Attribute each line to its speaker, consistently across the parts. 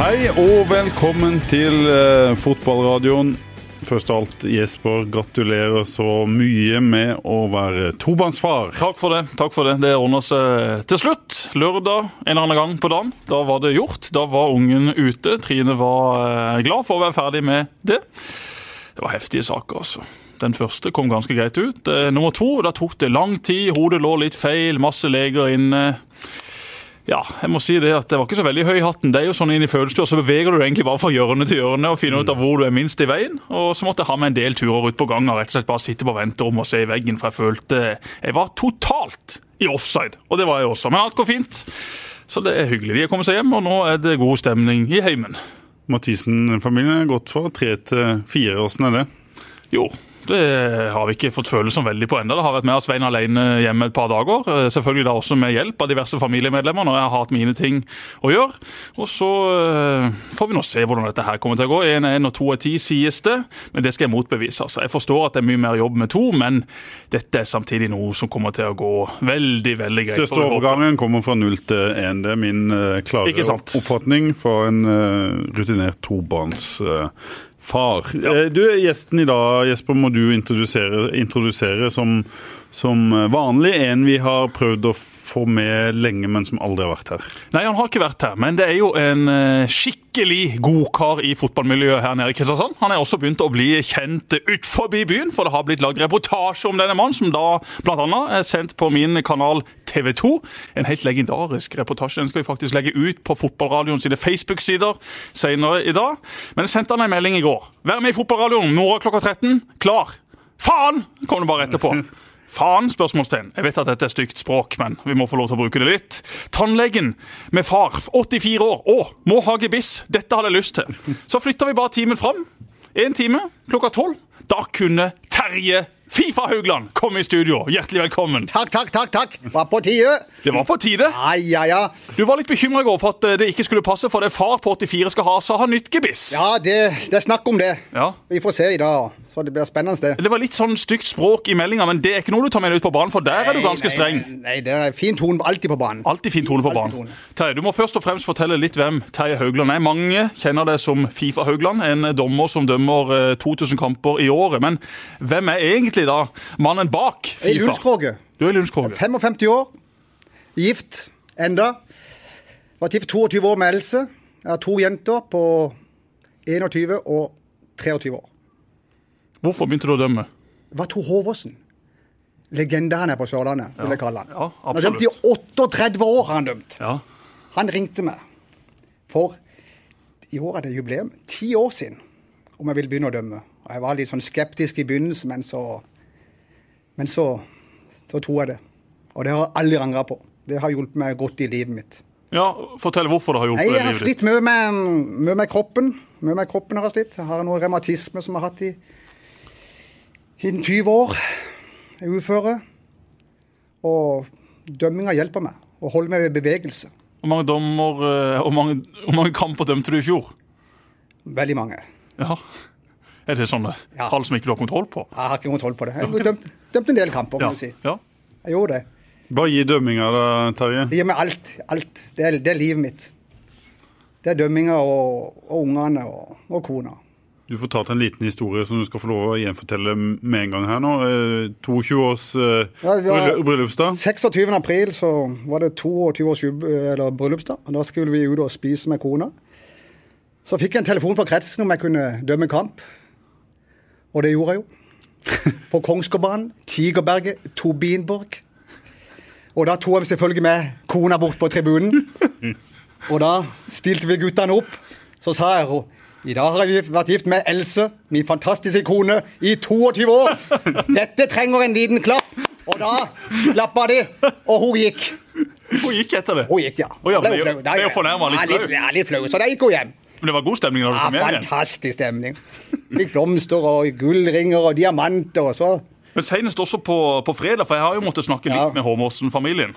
Speaker 1: Hei og velkommen til eh, fotballradioen. Først av alt, Jesper, gratulerer så mye med å være tobarnsfar.
Speaker 2: Takk for det. takk for Det Det ordner seg til slutt. Lørdag en eller annen gang på dagen. Da var det gjort. Da var ungen ute. Trine var eh, glad for å være ferdig med det. Det var heftige saker, altså. Den første kom ganske greit ut. Eh, Nummer to, da tok det lang tid. Hodet lå litt feil, masse leger inne. Ja, jeg må si det at det var ikke så veldig høy i hatten. Det er jo sånn inn i følelsestua, så beveger du deg egentlig bare fra hjørne til hjørne og finner ut av hvor du er minst i veien. Og så måtte jeg ha med en del turer ut på gangen og rett og slett bare sitte på venterommet og se i veggen, for jeg følte jeg var totalt i offside. Og det var jeg også. Men alt går fint. Så det er hyggelig. De er kommet seg hjem, og nå er det god stemning i heimen.
Speaker 1: Mathisen-familien er gått fra tre til fire. Åssen er det?
Speaker 2: Jo, det har vi ikke fått følelsen veldig på ennå. Det har vært med av Svein alene hjemme et par dager. Eh, Selvfølgelig da også med hjelp av diverse familiemedlemmer når jeg har hatt mine ting å gjøre. Og så eh, får vi nå se hvordan dette her kommer til å gå. Én er én og to er ti, sies det. Men det skal jeg motbevise. altså. Jeg forstår at det er mye mer jobb med to, men dette er samtidig noe som kommer til å gå veldig, veldig greit.
Speaker 1: Største overgangen kommer fra null til én. Det er min eh, klare
Speaker 2: Ikke sant?
Speaker 1: oppfatning for en eh, rutinert tobarnsfar. Du, gjesten i dag, Jesper, må du introdusere, introdusere som, som eh, vanlig en vi har prøvd å få med lenge, men som aldri har vært her.
Speaker 2: Nei, han har ikke vært her, men det er jo en eh, skikkelig god kar i fotballmiljøet her nede i Kristiansand. Han er også begynt å bli kjent utenfor byen, for det har blitt lagd reportasje om denne mannen, som da bl.a. er sendt på min kanal TV 2. En helt legendarisk reportasje. Den skal vi faktisk legge ut på Fotballradioen sine Facebook-sider senere i dag. Men jeg sendte han en melding i går. Vær med i Fotballradioen morgen klokka 13. Klar! Faen! kom det bare etterpå. Faen, spørsmålstegn. Jeg vet at dette er stygt språk, men vi må få lov til å bruke det litt. Tannlegen med far, 84 år, å, må ha gebiss. Dette hadde jeg lyst til. Så flytter vi bare timen fram. Én time, klokka tolv. Da kunne Terje Fifa Haugland komme i studio. Hjertelig velkommen.
Speaker 3: Takk, takk, takk, takk. Var på tide.
Speaker 2: Det var på tide.
Speaker 3: Ai, ja, ja.
Speaker 2: Du var litt bekymra i går for at eh, det ikke skulle passe, for det far på 84 skal ha, så har nytt gebiss.
Speaker 3: Ja, det, det er snakk om det.
Speaker 2: Ja.
Speaker 3: Vi får se i dag, så det blir spennende det.
Speaker 2: Det var litt sånn stygt språk i meldinga, men det er ikke noe du tar med deg ut på banen, for der er du ganske streng.
Speaker 3: Nei, nei, det er fin tone alltid på banen.
Speaker 2: Alltid fin tone på
Speaker 3: Alltid
Speaker 2: banen.
Speaker 3: tone.
Speaker 2: Terje, du må først og fremst fortelle litt hvem Terje Haugland er. Mange kjenner deg som Fifa Haugland, en dommer som dømmer eh, 2000 kamper i året. Men hvem er egentlig da mannen bak
Speaker 3: Jeg er
Speaker 2: Fifa?
Speaker 3: Lundskroge.
Speaker 2: Du er Lundskroge.
Speaker 3: 55 år. Gift enda. Var gift 22 år med Else. Jeg har to jenter på 21 og 23 år.
Speaker 2: Hvorfor begynte du å dømme?
Speaker 3: Var Tor Håvåsen. Legende han er på Sørlandet, vil jeg kalle han.
Speaker 2: ja,
Speaker 3: han har dømt i 38 år, har han dømt.
Speaker 2: Ja.
Speaker 3: Han ringte meg, for i år er det jubileum, ti år siden, om jeg ville begynne å dømme. Og jeg var litt sånn skeptisk i begynnelsen, men så Men så, så tok jeg det. Og det har jeg aldri angra på. Det har hjulpet meg godt i livet mitt.
Speaker 2: ja, fortell hvorfor det har
Speaker 3: Nei,
Speaker 2: hjulpet
Speaker 3: jeg
Speaker 2: deg i
Speaker 3: har
Speaker 2: livet ditt.
Speaker 3: slitt mye med, mye med kroppen. Mye med kroppen har jeg slitt. Jeg har noe revmatisme som jeg har hatt i innen 20 år. Jeg er uføre. Og dømminga hjelper meg. Og holder meg i bevegelse.
Speaker 2: Hvor mange dommer eh, Hvor mange, hvor mange kamper dømte du i fjor?
Speaker 3: Veldig mange.
Speaker 2: Ja. Er det sånne
Speaker 3: Ja.
Speaker 2: tall som ikke du har kontroll på?
Speaker 3: Jeg har ikke kontroll på det. Jeg har dømt, dømt en del kamper, må du si.
Speaker 2: ja.
Speaker 3: Jeg gjorde det.
Speaker 1: Hva gir dømminga da, Terje?
Speaker 3: Det gir meg alt. alt. Det, er, det er livet mitt. Det er dømminga og, og ungene og, og kona.
Speaker 1: Du fortalte en liten historie som du skal få lov å gjenfortelle med en gang her nå. Eh, 22 års eh,
Speaker 3: Ja, det var-
Speaker 1: bryllu- bryllupsdag.
Speaker 3: 26. april så var det 22 års jub- eller bryllupsdag. og Da skulle vi ut og spise med kona. Så fikk jeg en telefon fra kretsen om jeg kunne dømme kamp. Og det gjorde jeg jo. På Kongsgårdbanen, Tigerberget, Tobinborg. Og da tok jeg selvfølgelig med kona bort på tribunen. Og da stilte vi guttene opp. Så sa jeg henne i dag har jeg vært gift med Else, min fantastiske kone, i 22 år. Dette trenger en liten klapp. Og da klappa de, og hun gikk.
Speaker 2: Hun gikk etter det.
Speaker 3: Hun gikk, ja.
Speaker 2: Å ja,
Speaker 3: Da
Speaker 2: men det er
Speaker 3: hun
Speaker 2: jo-
Speaker 3: flau. Da-
Speaker 2: det er jo fornærmet, litt
Speaker 3: Ja,
Speaker 2: flau.
Speaker 3: Ja, litt flau. Så da gikk hun hjem.
Speaker 2: Men det var god stemning da du
Speaker 3: Ja,
Speaker 2: kom hjem igjen?
Speaker 3: fantastisk stemning. Fikk blomster og gullringer og diamanter og så.
Speaker 2: Men senest også på, på fredag, for jeg har jo måttet snakke
Speaker 3: Ja.
Speaker 2: litt med Håmåsen-familien.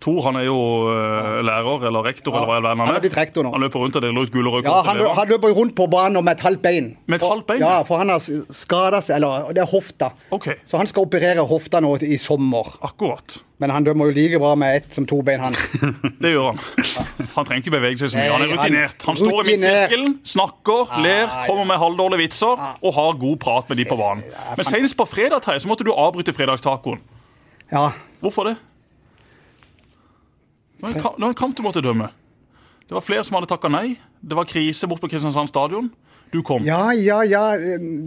Speaker 2: Tor han er jo eh, lærer eller rektor. eller hva i all verden
Speaker 3: Han er
Speaker 2: er.
Speaker 3: blitt rektor nå.
Speaker 2: Han løper rundt og deler ut gulrøtter.
Speaker 3: Ja, han, lø- han løper jo rundt på banen og med et halvt bein.
Speaker 2: Med et
Speaker 3: For-
Speaker 2: halvt bein, ja.
Speaker 3: Ja, for han har skada seg, eller det er hofta.
Speaker 2: Ok.
Speaker 3: Så han skal operere hofta nå i sommer.
Speaker 2: Akkurat.
Speaker 3: Men han dømmer jo like bra med ett som to bein, han.
Speaker 2: Det gjør han. Han trenger ikke bevege seg så mye. Han er
Speaker 3: Nei, han-
Speaker 2: rutinert. Han står i
Speaker 3: Rutinert.
Speaker 2: midtsirkelen, snakker, ler,
Speaker 3: ja. Ah.
Speaker 2: kommer med halvdårlige vitser og har god prat med de på banen. Men senest på fredag Terje, så måtte du avbryte fredagstacoen.
Speaker 3: Ja.
Speaker 2: Hvorfor det? Det var en ka- det var en kamp du måtte dømme. Det var flere som hadde takka nei. Det var krise borte på Kristiansand stadion. Du kom.
Speaker 3: Ja, ja, ja.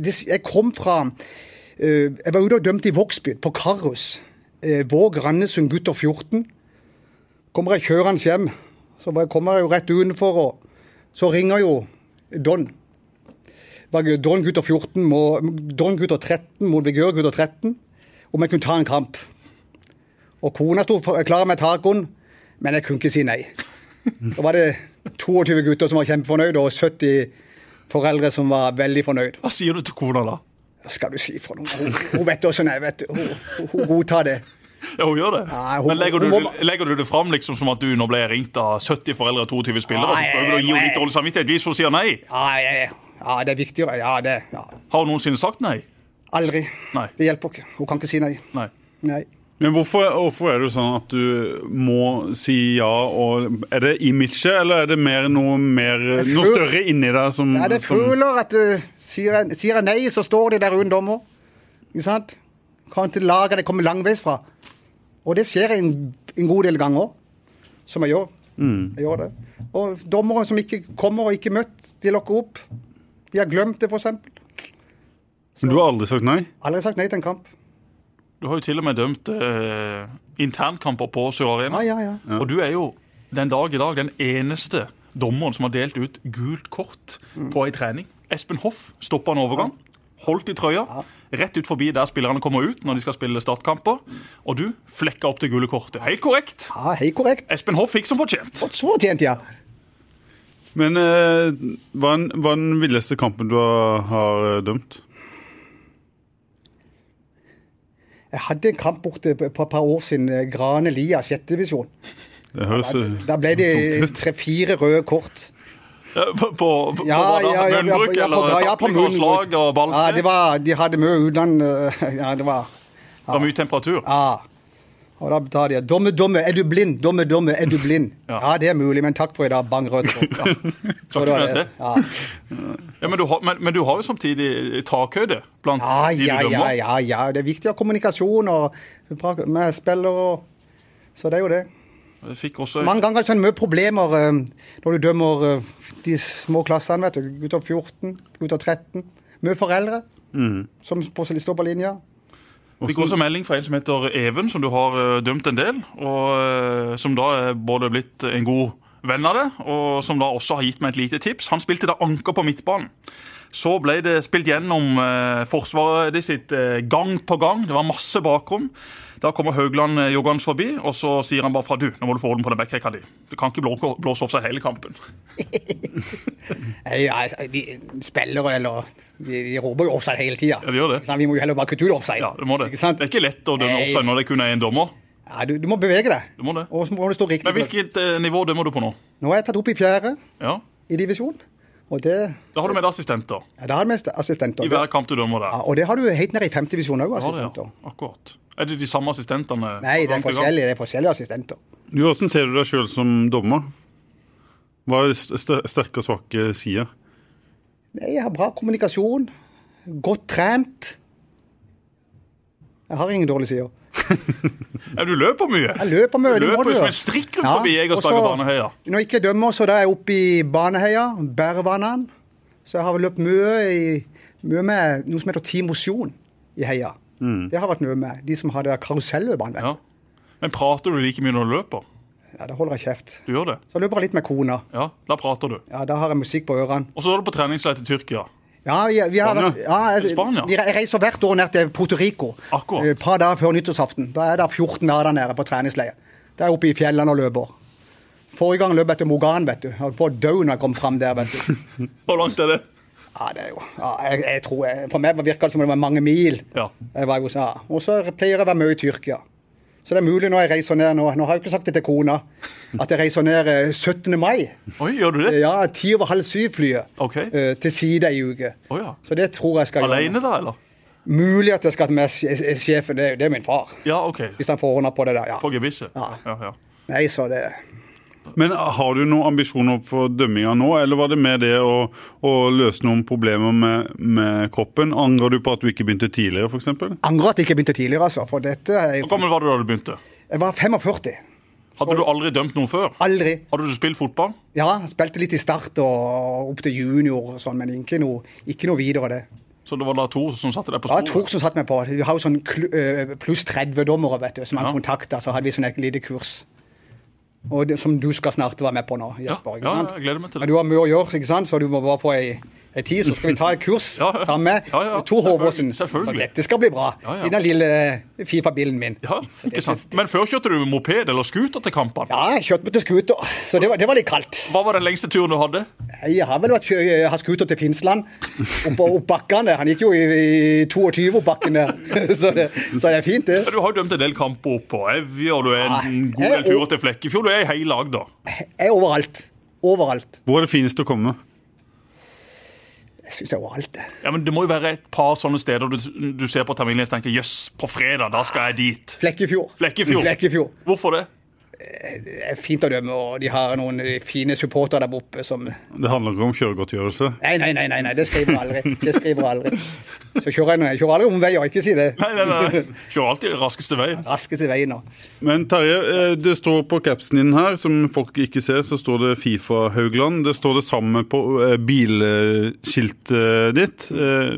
Speaker 3: Det- Jeg kom fra eh, Jeg var ute og dømte i Vågsbygd, på Karus. Eh, Våg Randesund, gutter 14. Kommer jeg kjørende hjem, så bare kommer jeg jo rett utenfor, og så ringer jo Don. Bare Don gutter 14 må, Don gutter 13 mot Vigør gutter 13, om jeg kunne ta en kamp. Og kona sto for- klar med tacoen, men jeg kunne ikke si nei. Da var det 22 gutter som var kjempefornøyd, og 70 foreldre som var veldig fornøyd.
Speaker 2: Hva sier du til kona da?
Speaker 3: Hva skal du si for noe? Hun, hun vet åssen jeg vet du. Hun, hun- hun godtar det.
Speaker 2: Ja, hun gjør det.
Speaker 3: Nei, hun-
Speaker 2: Men legger du,
Speaker 3: hun må-
Speaker 2: legger du det fram liksom som at du nå ble ringt av 70 foreldre og 22 spillere? og
Speaker 3: Nei,
Speaker 2: så prøver du å gi henne litt
Speaker 3: nei.
Speaker 2: dårlig samvittighet hvis hun sier nei?
Speaker 3: Ja, ja, ja. ja, det er viktigere. Ja, det ja.
Speaker 2: Har hun noensinne sagt nei?
Speaker 3: Aldri.
Speaker 2: Nei.
Speaker 3: Det hjelper ikke. Hun kan ikke si nei.
Speaker 2: Nei.
Speaker 3: Nei.
Speaker 1: Men hvorfor, hvorfor er det jo sånn at du må si ja og Er det imaget, eller er det mer noe, mer, noe
Speaker 3: føl-
Speaker 1: større inni deg som,
Speaker 3: Ja, det
Speaker 1: som
Speaker 3: føler at uh, sier, jeg, sier jeg nei, så står de der uten dommer. Ikke sant? Kan ikke lage det kommer langveisfra. Og det skjer en, en god del ganger, som jeg gjør.
Speaker 1: Mm.
Speaker 3: Jeg gjør det. Og dommere som ikke kommer og ikke møtt, de lokker opp. De har glemt det, f.eks.
Speaker 1: Men du har aldri sagt nei?
Speaker 3: Aldri sagt nei til en kamp.
Speaker 2: Du har jo til og med dømt eh, internkamper på Sør Arena.
Speaker 3: Ja, ja, ja.
Speaker 2: Og du er jo den dag i dag den eneste dommeren som har delt ut gult kort
Speaker 3: Mm.
Speaker 2: på ei trening. Espen Hoff stoppa en overgang, holdt i trøya, rett ut forbi der spillerne kommer ut når de skal spille startkamper, og du flekka opp det gule kortet. Helt korrekt.
Speaker 3: Ja, Helt korrekt.
Speaker 2: Espen Hoff fikk som fortjent.
Speaker 3: Og så tjente jeg.
Speaker 1: Men eh, hva, er den- hva er den villeste kampen du har, har eh, dømt?
Speaker 3: Jeg hadde en kamp borte på et par år siden. eh, Grane Lia, sjette divisjon.
Speaker 1: Det høres eh,
Speaker 3: Da ble det
Speaker 1: tungt ut.
Speaker 3: tre-fire røde kort.
Speaker 2: Ja, På, på, på
Speaker 3: Ja,
Speaker 2: hva da?
Speaker 3: ja, ja, ja,
Speaker 2: munnbruk
Speaker 3: ja, på-
Speaker 2: eller
Speaker 3: ja, på
Speaker 2: takling og
Speaker 3: munnbruk.
Speaker 2: slag og balltre?
Speaker 3: Ja, det var, de hadde mye utland. eh, Ja, det var
Speaker 2: det var mye temperatur.
Speaker 3: Ja. Og da tar de Domme, domme, er du blind? Domme, domme, er du blind?
Speaker 2: Ja.
Speaker 3: ja. det er mulig, men takk for i dag. Bang, rødt kort. Ja.
Speaker 2: Takk
Speaker 3: det
Speaker 2: for
Speaker 3: var
Speaker 2: det.
Speaker 3: det. Ja.
Speaker 2: Ja, men, du har, men, men du har jo samtidig takhøyde blant
Speaker 3: Ja,
Speaker 2: de du
Speaker 3: ja, ja,
Speaker 2: dømmer.
Speaker 3: ja, ja. Det er viktig å ha kommunikasjon og pra- med spillere og Så det er jo det.
Speaker 2: Jeg fikk også
Speaker 3: Mange ganger er det sånn mye problemer eh, når du dømmer eh, de små klassene, vet du. Gutter 14, gutter 13. Mye foreldre
Speaker 2: Mm.
Speaker 3: som på- står på linja.
Speaker 1: eh,
Speaker 2: Fikk også melding fra en som heter Even, som du har eh, dømt en del. Og eh, som da er både blitt en god venn av deg, og som da også har gitt meg et lite tips. Han spilte da anker på midtbanen. Så ble det spilt gjennom eh, forsvaret ditt sitt eh, gang på gang. Det var masse bakrom. Da kommer Haugland eh, joggende forbi, og så sier han bare fra du, nå må du få orden på den backrekka di. Du kan ikke blå- blåse off seg hele kampen.
Speaker 3: Nei, Eh, ja, de spillere eller De, de roper jo offside hele tida.
Speaker 2: Ja, de gjør det.
Speaker 3: Vi må jo heller bare kutte ut offside.
Speaker 2: Ja, du må det.
Speaker 3: Ikke
Speaker 2: Det
Speaker 3: sant?
Speaker 2: er ikke lett å dømme
Speaker 3: Nei.
Speaker 2: offside når det kun er én dommer.
Speaker 3: Ja, du, du må bevege deg.
Speaker 2: Du må det.
Speaker 3: Og så må du stå riktig.
Speaker 2: Men hvilket eh, nivå dømmer du på nå?
Speaker 3: Nå er jeg tatt opp i fjerde
Speaker 2: Ja,
Speaker 3: i divisjon, og det
Speaker 2: Da har du med deg assistenter.
Speaker 3: ja, Da har vi assistenter.
Speaker 2: I hver kamp du dømmer der.
Speaker 3: Ja, og det har du helt ned i femte divisjon òg,
Speaker 2: Har det,
Speaker 3: assistenter.
Speaker 2: ja. Akkurat. Er det de samme assistentene?
Speaker 3: Nei, det
Speaker 2: gang til gang?
Speaker 3: er forskjellige, det er forskjellige assistenter.
Speaker 1: Du, Hvordan ser du deg sjøl som dommer? Hva er st- st- sterke og svake sider?
Speaker 3: Nei, jeg har bra kommunikasjon. Godt trent. Jeg har ingen dårlige sider.
Speaker 2: Ja, du løper mye.
Speaker 3: Jeg løper mye.
Speaker 2: Du
Speaker 3: det må
Speaker 2: løper
Speaker 3: du
Speaker 2: jo som
Speaker 3: gjøre.
Speaker 2: en strikk rundt
Speaker 3: Ja,
Speaker 2: forbi Egersberg og
Speaker 3: og så-
Speaker 2: Baneheia.
Speaker 3: Når jeg ikke dømmer, så da er jeg oppe i Baneheia, Bærvannan. Så jeg har løpt mye, i, mye med noe som heter Team Mosjon i heia. Det har vært mye med. De som har det der karuselløpene.
Speaker 2: Ja. Men prater du like mye når du løper?
Speaker 3: Ja, da holder jeg kjeft.
Speaker 2: Du gjør det?
Speaker 3: Så løper jeg litt med kona.
Speaker 2: Ja, da prater du.
Speaker 3: Ja, Da har jeg musikk på ørene.
Speaker 2: Og så er du på treningsleir til Tyrkia.
Speaker 3: Ja, vi, vi har
Speaker 1: Spania?
Speaker 3: vært, ja, jeg,
Speaker 2: Spania?
Speaker 3: vi re- jeg reiser hvert år ned til Puerto Rico.
Speaker 2: Akkurat.
Speaker 3: Eh, Et par dager før nyttårsaften. Da er det 14 dager der nede på treningsleir. Da er jeg oppe i fjellene og løper. Forrige gang løp jeg til Mogan, vet du. Jeg holdt på å dø når jeg kom fram der, vet du.
Speaker 2: Hvor langt er det?
Speaker 3: Ja, det er jo ja, jeg, jeg tror jeg, For meg virka det som om det var mange mil.
Speaker 2: Ja.
Speaker 3: Jeg var jo sånn, ja. Og så pleier jeg å være mye i Tyrkia. Så det er mulig når jeg reiser ned nå Nå har jeg jo ikke sagt det til kona, at jeg reiser ned eh, 17. mai.
Speaker 2: Oi, gjør du det?
Speaker 3: Ja, ti over halv syv-flyet
Speaker 2: Ok.
Speaker 3: til side ei uke.
Speaker 2: Å ja.
Speaker 3: Så det tror jeg skal
Speaker 2: Alene, da, eller?
Speaker 3: gjøre. Mulig at jeg skal ha med sj- sj- sjefen. Det, er- det er min far.
Speaker 2: Ja, OK.
Speaker 3: Hvis han får ordna på det der. ja.
Speaker 2: På gebisset?
Speaker 3: Ja.
Speaker 2: Ja, ja.
Speaker 3: Nei, så det
Speaker 1: Men har du noen ambisjoner for dømminga nå, eller var det med det å, å løse noen problemer med, med kroppen? Angrer du på at du ikke begynte tidligere, f.eks.?
Speaker 3: Angrer at jeg ikke begynte tidligere, altså. For dette er-
Speaker 2: Hvor gammel var du da du begynte?
Speaker 3: Jeg var 45.
Speaker 2: Hadde du aldri dømt noen før?
Speaker 3: Aldri.
Speaker 2: Hadde du spilt fotball?
Speaker 3: Ja, spilte litt i start og opp til junior og sånn, men ikke noe, ikke noe videre det.
Speaker 2: Så det var da Tor som satte deg på
Speaker 3: Det var
Speaker 2: sporet?
Speaker 3: Tor som satte meg på. Vi har jo sånn klu- eh, pluss 30-dommere, vet du, som han
Speaker 2: Ja.
Speaker 3: kontakta. Så hadde vi sånn et lite kurs. Og det, som du skal snart være med på nå, Jesper.
Speaker 2: ja,
Speaker 3: ikke sant?
Speaker 2: jeg gleder meg til det.
Speaker 3: Men du har mye å gjøre, ikke sant? så du må bare få ei, ei tid. Så skal vi ta et kurs
Speaker 2: Ja, ja.
Speaker 3: sammen med
Speaker 2: Ja, ja.
Speaker 3: Tor Håvåsen.
Speaker 2: Selvfølgelig.
Speaker 3: Så dette skal bli bra.
Speaker 2: Ja, ja.
Speaker 3: I den lille eh, Fifa-bilen min.
Speaker 2: Ja, ikke sant. Men før kjørte du moped eller scooter til kampene?
Speaker 3: Ja, jeg kjørte meg til scooter, så det var, det var litt kaldt.
Speaker 2: Hva var den lengste turen du hadde?
Speaker 3: Jeg har vel vært kjø- jeg har skuter til Finnsland, opp, opp bakkene. Han gikk jo i, i 22 opp bakken der, så det, så det er fint,
Speaker 2: Ja,
Speaker 3: det.
Speaker 2: Du har jo dømt en del kamper opp på Evje, og du er en
Speaker 3: Nei,
Speaker 2: god del
Speaker 3: jeg-
Speaker 2: turer til Flekkefjord. Du er i hele Agder.
Speaker 3: Jeg er overalt. Overalt.
Speaker 1: Hvor er det finest å komme?
Speaker 3: Jeg syns jeg er overalt, det.
Speaker 2: Ja, men Det må jo være et par sånne steder du, du ser på terminlisten og tenker jøss, på fredag da skal jeg dit.
Speaker 3: Flekkefjord.
Speaker 2: Flekkefjord.
Speaker 3: Flekkefjord.
Speaker 2: Hvorfor det?
Speaker 3: Det er fint å dømme, og de har noen eh, fine supportere der oppe som Nei,
Speaker 1: Det handler ikke om kjøregodtgjørelse.
Speaker 3: nei, nei, nei, nei det skriver jeg aldri. Det skriver jeg aldri. Så kjører jeg, jeg kjører aldri omveier, ikke si det.
Speaker 2: Nei, nei, nei. Kjører alltid raskeste veien.
Speaker 3: Raskeste veien nå.
Speaker 1: Men Terje, eh, det står på capsen din her, som folk ikke ser, så står det Fifa Haugland. Det står det samme på eh, bilskiltet ditt. Eh,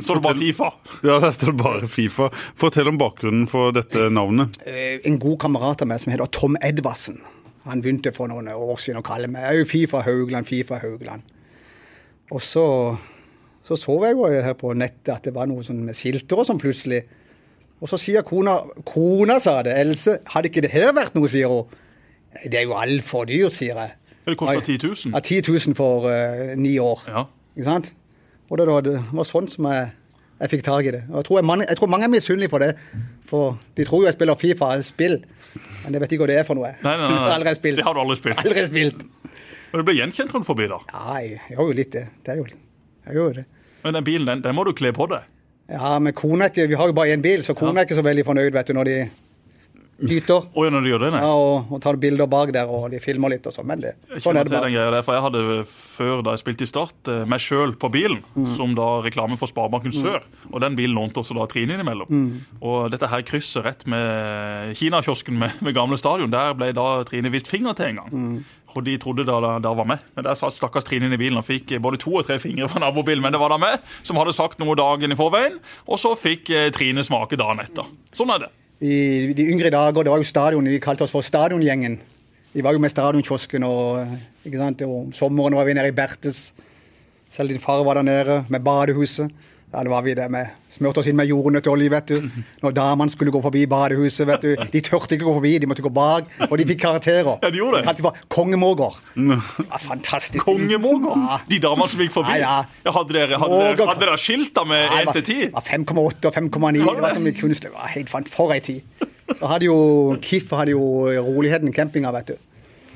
Speaker 2: Står det bare Fifa?
Speaker 1: Ja, der står det bare Fifa. Fortell om bakgrunnen for dette navnet.
Speaker 3: Eh, En god kamerat av meg som heter Tom Edvardsen. Han begynte for noen år siden å kalle meg «Au, Fifa Haugland, Fifa Haugland. Og så så, så jeg jo her på nettet at det var noe sånn med skilter og sånn plutselig. Og så sier kona Kona, sa det. Else, hadde ikke det her vært noe, sier hun. «Nei, Det er jo altfor dyrt, sier jeg.
Speaker 2: Det koster
Speaker 3: Oi.
Speaker 2: 10 000.
Speaker 3: Ja, 10 000 for eh, ni år.
Speaker 2: Ja.
Speaker 3: Ikke sant? Og det, var- det var sånn som jeg, jeg fikk tak i det. Og jeg tror, jeg, mange- jeg tror mange er misunnelige for det. For de tror jo jeg spiller Fifa-spill, men jeg vet ikke hva det er for noe.
Speaker 2: Nei, nei, nei, nei.
Speaker 3: Aldri spilt.
Speaker 2: Det har du aldri spilt.
Speaker 3: Aldri spilt.
Speaker 2: Men du ble gjenkjent rundt forbi, da.
Speaker 3: Ja, jeg jeg gjør jo litt det. Det er jo jeg gjør jo det.
Speaker 2: Men den bilen, den, den må du kle på deg.
Speaker 3: Ja, men kona er ikke Vi har jo bare én bil, så kona er ikke så veldig fornøyd, vet du, når de dyter.
Speaker 2: Å ja, når du gjør det, nei.
Speaker 3: Ja, og, og tar bilder bak der, og de filmer litt og sånn. Men det,
Speaker 2: Jeg
Speaker 3: sånn
Speaker 2: kjenner
Speaker 3: er det
Speaker 2: til den
Speaker 3: bare.
Speaker 2: greia der, for jeg hadde eh, før da jeg spilte i Start, eh, meg sjøl på bilen,
Speaker 3: Mm.
Speaker 2: som da reklame for Sparebanken Sør. Og den bilen lånte også da Trine innimellom.
Speaker 3: Mm.
Speaker 2: Og dette her krysset rett med Kinakiosken med, med gamle stadion, der ble da Trine vist finger til en gang.
Speaker 3: Mm.
Speaker 2: Og de trodde da da- da var meg. Men der satt stakkars Trine inn i bilen og fikk eh, både to og tre fingre fra nabobilen. Men det var da meg som hadde sagt noe dagen i forveien, og så fikk eh, Trine smake dagen etter. Sånn er det.
Speaker 3: I de yngre dager, det var jo stadion, de kalte oss for Stadiongjengen. Vi var jo med Stadionkiosken, og, ikke sant? og om sommeren var vi nede i Bertes. Selv din far var der nede, med badehuset. Ja, det var vi der med. Smurte oss inn med jordnøttolje, vet du. Når damene skulle gå forbi badehuset, vet du. De turte ikke gå forbi, de måtte gå bak. Og de fikk karakterer.
Speaker 2: Ja, de gjorde det. Mm.
Speaker 3: kalte de for kongemåger. Ja, fantastisk.
Speaker 2: Kongemåger!
Speaker 3: Ja.
Speaker 2: De damene som gikk forbi.
Speaker 3: Ja, ja.
Speaker 2: Hadde dere, hadde dere,
Speaker 3: Måger.
Speaker 2: hadde dere skilt da med
Speaker 3: Nei,
Speaker 2: 1
Speaker 3: det
Speaker 2: til 10?
Speaker 3: var- var 5,8 og 5,9. Det var så mye kunst. Det var helt fant for ei tid. Så hadde jo KIF hadde jo Roligheten campinga, vet du.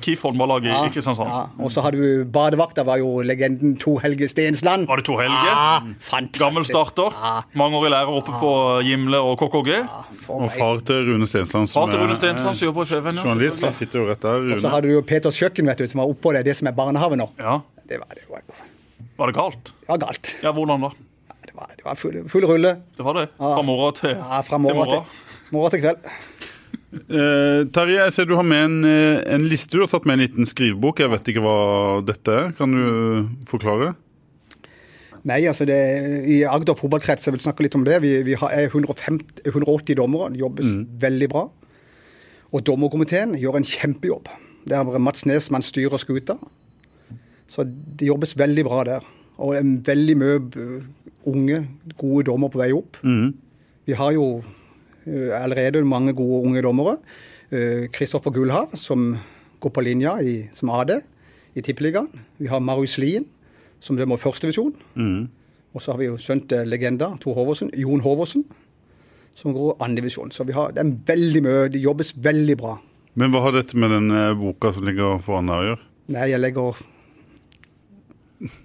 Speaker 2: KIF håndballag i sånn, i Kristiansand.
Speaker 3: Ja, og så hadde du badevakta, var jo legenden To Helge Stensland.
Speaker 2: Var det Tor Helge? Mm.
Speaker 3: Ja, fantastisk.
Speaker 2: Gammel starter.
Speaker 3: Ja,
Speaker 2: Mangeårig lærer oppe på Gimle og KKG.
Speaker 3: for
Speaker 1: Og
Speaker 3: meg.
Speaker 1: far til Rune Stensland, som
Speaker 2: Far til Rune
Speaker 1: er-
Speaker 2: Stensland, som jobber i Feven. ja,
Speaker 1: Journalist, altså. han
Speaker 2: selvfølgelig.
Speaker 1: sitter jo rett der.
Speaker 3: Og så
Speaker 1: Rune.
Speaker 3: hadde du jo Peters kjøkken, vet du, som var oppå det, det som er barnehage nå.
Speaker 2: Ja.
Speaker 3: Det var, det var, det
Speaker 2: Var det galt?
Speaker 3: var galt.
Speaker 2: Ja, hvordan da?
Speaker 3: Det var, det var full, full rulle.
Speaker 2: Det var det. Fra morgen til,
Speaker 3: Ja, fra
Speaker 2: til
Speaker 3: morgen
Speaker 2: morgen.
Speaker 3: til, morgen til kveld.
Speaker 1: Eh, Terje, jeg ser du har med en, eh, en liste. Du har tatt med en liten skrivebok. Jeg vet ikke hva dette er. Kan du forklare?
Speaker 3: Nei, altså det, I Agder fotballkrets jeg vil snakke litt om det. Vi, vi har, er 150, 180 dommere. Det jobbes veldig bra. Og dommerkomiteen gjør en kjempejobb. Det er bare Mats Nesmann styrer skuta. Så det jobbes veldig bra der. Og en veldig mye eh, unge, gode dommer på vei opp. Vi har jo eh, allerede mange gode unge dommere. Eh, Kristoffer Gullhav, som går på linja i, som AD i Tippeligaen. Vi har Marius Lien, som dømmer førstedivisjon. Og så har vi jo skjønt eh, legenda, Tor Håvåsen, Jon Håvåsen, som går andredivisjon. Så vi har, det er veldig mye, det jobbes veldig bra.
Speaker 1: Men hva har dette med den eh, boka som ligger foran deg å gjøre?
Speaker 3: Nei, jeg legger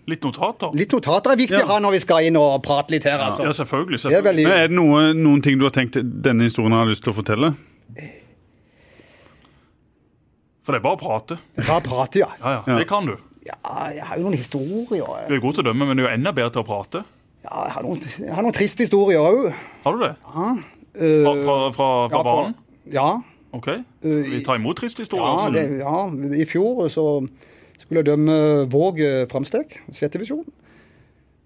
Speaker 2: Litt notater?
Speaker 3: Litt notater er viktig å ha når vi skal inn og prate litt her, altså.
Speaker 2: Ja, selvfølgelig.
Speaker 3: Det er
Speaker 2: selvfølgelig.
Speaker 3: veldig
Speaker 1: Men er det noe, noen ting du har tenkt denne historien har jeg lyst til å fortelle?
Speaker 2: For det er bare å prate.
Speaker 3: bra prat, ja.
Speaker 2: Ja, ja. Det kan du.
Speaker 3: ja. Jeg har jo noen historier.
Speaker 2: Du er god til å dømme, men du er enda bedre til å prate.
Speaker 3: Ja, jeg har noen, jeg har noen triste historier òg.
Speaker 2: Har du det?
Speaker 3: Uh,
Speaker 2: Fra, fra, fra, fra barn?
Speaker 3: Ja.
Speaker 2: OK. Vi tar imot triste historier.
Speaker 3: Eh, Ja,
Speaker 2: altså.
Speaker 3: det, ja. I fjor så skulle jeg dømme Våg eh, Framstek, sjette divisjon.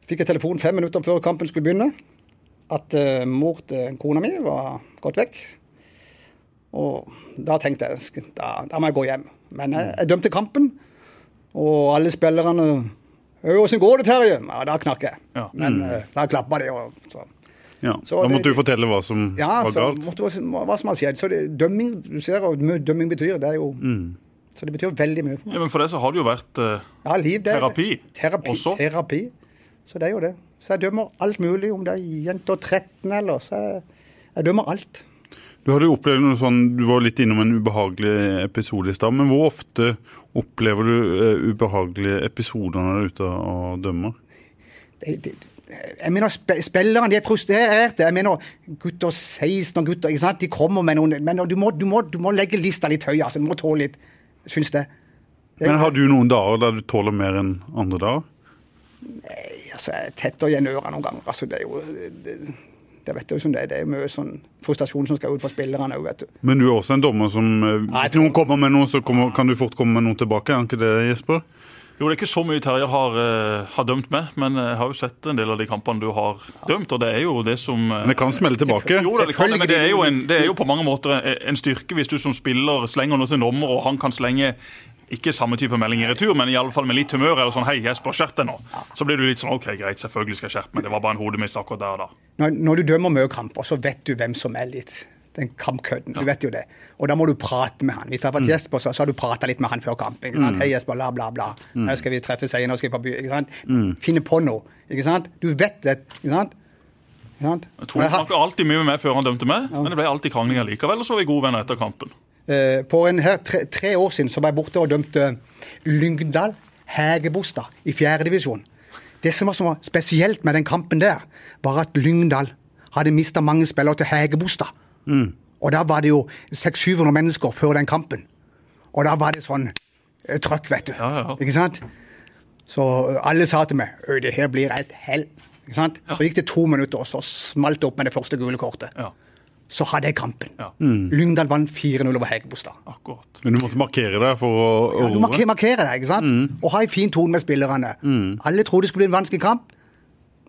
Speaker 3: Fikk jeg telefon fem minutter før kampen skulle begynne at eh, mor til kona mi var gått vekk. Og da tenkte jeg sk- da, da må jeg gå hjem. Men jeg, jeg dømte kampen, og alle spillerne «Øy, 'Åssen går det, Terje?' Ja, da knakk jeg.
Speaker 2: Ja.
Speaker 3: Men eh, da klappa de. Og, så.
Speaker 1: Ja.
Speaker 3: Så
Speaker 1: da
Speaker 3: det-
Speaker 1: måtte du fortelle hva som
Speaker 3: Ja,
Speaker 1: var
Speaker 3: så
Speaker 1: galt.
Speaker 3: måtte, hva hva som har skjedd. Så det, dømming, du ser hva dømming betyr. Det er jo
Speaker 1: Mm.
Speaker 3: Så det betyr veldig mye for meg.
Speaker 2: Ja, men For det så har det jo vært eh,
Speaker 3: Ja, liv, det er
Speaker 2: Terapi
Speaker 3: Terapi,
Speaker 2: også.
Speaker 3: terapi. Så det er jo det. Så jeg dømmer alt mulig, om det er jenter 13 eller så jeg, jeg dømmer alt.
Speaker 1: Du hadde jo opplevd noe sånn, du var litt innom en ubehagelig episode i stad, men hvor ofte opplever du eh, ubehagelige episoder når du er ute og dømmer?
Speaker 3: Det, det, jeg mener, spe- Spillerne de er frustrerte. Jeg mener, Gutter 16 og gutter ikke sant? De kommer med noen Men du må, du må, du må legge lista litt høyere. Altså, du må tåle litt, syns det.
Speaker 1: Men har du noen dager der du tåler mer enn andre dager?
Speaker 3: altså, jeg tetter igjen øra noen ganger. Altså, det er jo det, det vet du jo som det er. Det er jo mye sånn frustrasjon som skal ut for spillerne òg, vet du.
Speaker 1: Men du er også en dommer som eh,
Speaker 3: jeg
Speaker 1: Hvis
Speaker 3: tror-
Speaker 1: noen kommer med noe, så kommer, kan du fort komme med noe tilbake. Er ikke det, Jesper?
Speaker 2: Jo, det er ikke så mye Terje har, eh, har dømt med, men jeg har jo sett en del av de kampene du har dømt, og det er jo det som eh,
Speaker 1: Men det kan smelle tilbake.
Speaker 2: Jo da, det kan det, men det er jo, en, det er jo på mange måter en- en styrke hvis du som spiller slenger noe til en dommer, og han kan slenge ikke samme type melding i retur, men i alle fall med litt humør. eller sånn, hei, Jesper, skjerp deg nå. Så blir du litt sånn OK, greit, selvfølgelig skal jeg skjerpe meg. Det var bare en hodemist akkurat der og da.
Speaker 3: Når, når du dømmer mye kamper, så vet du hvem som er litt den kampkødden. Du vet jo det. Og da må du prate med han. Hvis det har vært Jesper, så, så har du prata litt med han før kampen. Ikke sant? 'Hei, Jesper, bla, bla, bla. Nå skal vi treffes senere, nå skal vi på by Ikke sant? Finne på noe. Ikke sant? Du vet det. Ikke sant? Ikke sant?
Speaker 2: Tone
Speaker 3: Men jeg har-
Speaker 2: snakka alltid mye med meg før han dømte meg, men det ble alltid krangling likevel, og så var vi gode venner etter kampen.
Speaker 3: Eh, På en her, tre, tre år siden så var jeg borte og dømte Lyngdal Hægebostad i fjerdedivisjon. Det som var, som var spesielt med den kampen der, var at Lyngdal hadde mista mange spillere til Hægebostad.
Speaker 2: Mm.
Speaker 3: Og da var det jo 600-700 mennesker før den kampen. Og da var det sånn eh, trøkk, vet du.
Speaker 2: Ja, ja, ja.
Speaker 3: Ikke sant? Så eh, alle sa til meg «Øy, det her blir et hell. Ikke sant? Så gikk det to minutter, og så smalt det opp med det første gule kortet.
Speaker 2: Ja,
Speaker 3: Så hadde jeg kampen.
Speaker 2: Ja. Mm.
Speaker 3: Lyngdal vant 4-0 over Hægebostad.
Speaker 2: akkurat.
Speaker 1: Men du måtte markere deg for å å
Speaker 3: Ja, du
Speaker 1: roe.
Speaker 3: markerer, markerer deg, ikke sant?
Speaker 2: Mm.
Speaker 3: Og ha en fin tone med spillerne. Alle trodde det skulle bli en vanskelig kamp,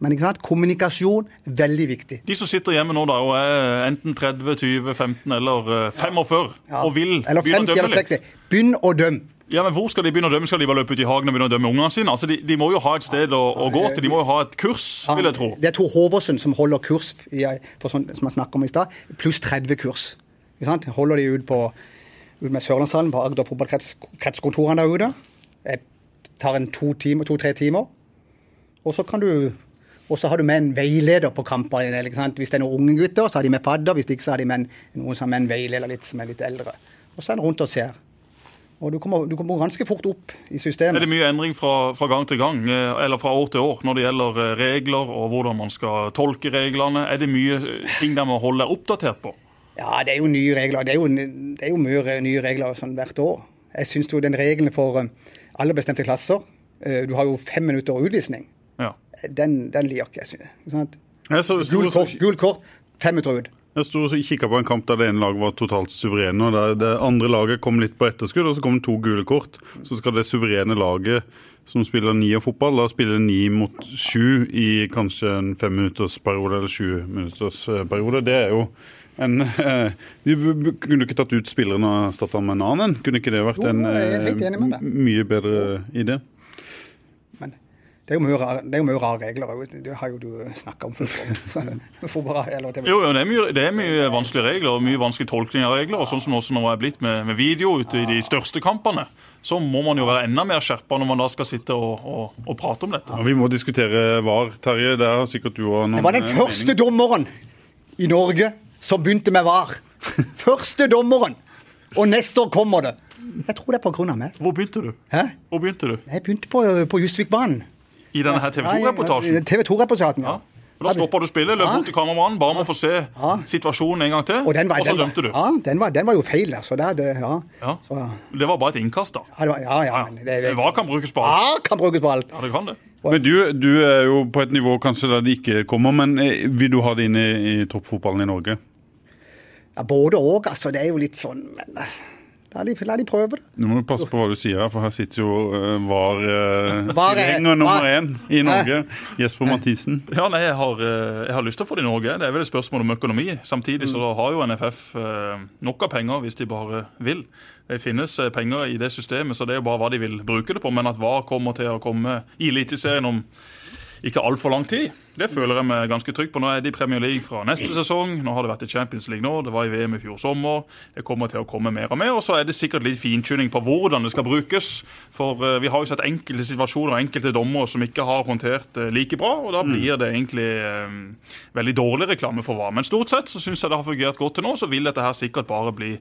Speaker 3: men ikke sant? kommunikasjon veldig viktig.
Speaker 2: De som sitter hjemme nå da, og er eh, enten 30, 20, 15 eller eh, 45
Speaker 3: Ja.
Speaker 2: og vil
Speaker 3: Eller
Speaker 2: begynne å
Speaker 3: 50 eller
Speaker 2: dømme litt
Speaker 3: 60. Begynn å dømme.
Speaker 2: Ja, men Hvor skal de begynne å dømme? Skal de bare løpe ut i hagen og begynne å dømme ungene sine? Altså, De, de må jo ha et sted å, å gå til, de må jo ha et kurs, vil jeg tro.
Speaker 3: Det er Tor Håvåsen som holder kurs, i, for sånn, som jeg snakket om i stad, pluss 30 kurs. Ikke sant? Holder de ut på ut med Sørlandshallen, på Agder fotballkretskontorene der ute. Jeg tar en to-tre timer, to, tre timer. Og så kan du og så har du med en veileder på kampene. dine, Ikke sant? Hvis det er noen unge gutter, så har de med fadder. Hvis ikke, så har de med en, noen som har med en veileder litt, som er litt eldre. Og så er han rundt og ser. Og du kommer, du kommer ganske fort opp i
Speaker 2: Er det
Speaker 3: systemet.
Speaker 2: mye endring fra, fra gang til gang, eh, eller fra år til år, når det gjelder eh, regler og hvordan man skal tolke reglene? Er det mye eh, ting der man holder deg oppdatert på?
Speaker 3: Ja, det er jo nye regler. Det er jo, det er jo mye re- nye regler sånn hvert år. Jeg syns jo den regelen for eh, alle bestemte klasser eh, Du har jo fem minutter utvisning.
Speaker 2: Ja.
Speaker 3: Den, den liker ikke jeg. synes jeg, Ikke sant?
Speaker 1: Jeg så
Speaker 3: Gult
Speaker 1: stor,
Speaker 3: kort, gul kort, fem minutter ut.
Speaker 1: Jeg sto og kikka på en kamp der det ene laget var totalt suverene, og der det andre laget kom litt på etterskudd, og så kom det to gule kort. Så skal det suverene laget som spiller ni av fotball, da spille ni mot sju i kanskje en femminuttersperiode eller sjuminuttersperiode. Det er jo en eh, De b- b- kunne ikke tatt ut spilleren og erstatta med en annen. Kunne ikke det vært
Speaker 3: Jo,
Speaker 1: en
Speaker 3: jeg er
Speaker 1: eh,
Speaker 3: helt enig med deg.
Speaker 1: m- mye bedre idé?
Speaker 3: Men det er jo mye rare, det er jo mye rare regler òg. Det har jo du snakka om før. Fotball, eller TV.
Speaker 2: Jo, jo, det er, mye, det er mye vanskelige regler og mye vanskelig tolkning av regler. og sånn som også nå er blitt med, med video ute i de største kampene, så må man jo være enda mer skjerpa når man da skal sitte og, og, og prate om dette.
Speaker 1: Ja, vi må diskutere VAR, Terje. Det har sikkert du òg noen
Speaker 3: Det var den
Speaker 1: eh,
Speaker 3: første dommeren i Norge som begynte med VAR. Første dommeren! Og neste år kommer det. Jeg tror det er på grunn av meg.
Speaker 2: Hvor begynte du?
Speaker 3: Hæ?
Speaker 2: Hvor begynte du?
Speaker 3: Jeg begynte på, på Jusvikbanen.
Speaker 2: I denne her TV 2-reportasjen?
Speaker 3: TV 2-reportasjen,
Speaker 2: Ja.
Speaker 3: ja.
Speaker 2: Og Da stoppa du spillet, løp
Speaker 3: Ja.
Speaker 2: bort til kameramannen, ba om å få se situasjonen en gang til,
Speaker 3: Og, den var,
Speaker 2: så
Speaker 3: den var-
Speaker 2: dømte du.
Speaker 3: Ja, den var, den var jo feil, altså. Det, er det, ja.
Speaker 2: Ja.
Speaker 3: Så, ja,
Speaker 2: Det var bare et innkast, da.
Speaker 3: det var, ja, ja,
Speaker 2: Ja.
Speaker 3: men det, det, Ah.
Speaker 2: Det var kan brukes på alt.
Speaker 3: ja, kan brukes på alt.
Speaker 2: Ja, det kan det.
Speaker 1: Men du, du er jo på et nivå kanskje der det ikke kommer, men eh, vil du ha det inn i, i toppfotballen i Norge?
Speaker 3: Ja, både og, altså. Det er jo litt sånn Men eh, la de, la de prøve det.
Speaker 1: Nå må du passe på hva du sier, her, for her sitter jo eh, var eh,
Speaker 3: Var er-
Speaker 1: tilhenger nummer
Speaker 3: var-
Speaker 1: én i Norge, Jesper Mathisen.
Speaker 2: Ja, nei, jeg har, eh, jeg har lyst til å få det i Norge. Det er vel et spørsmål om økonomi. Samtidig så har jo NFF eh, nok av penger hvis de bare vil. Det finnes eh, penger i det systemet, så det er jo bare hva de vil bruke det på. Men at VAR kommer til å komme i Eliteserien om ikke altfor lang tid, det føler jeg meg ganske trygg på. Nå er de i Premier League fra neste sesong, nå har det vært i Champions League nå, det var i VM i fjor sommer. Det kommer til å komme mer og mer. Og så er det sikkert litt fintuning på hvordan det skal brukes. For eh, vi har jo sett enkelte situasjoner og enkelte dommere som ikke har håndtert det like bra, og da blir det egentlig eh, veldig dårlig reklame for hva. Men stort sett så syns jeg det har fungert godt til nå, så vil dette her sikkert bare bli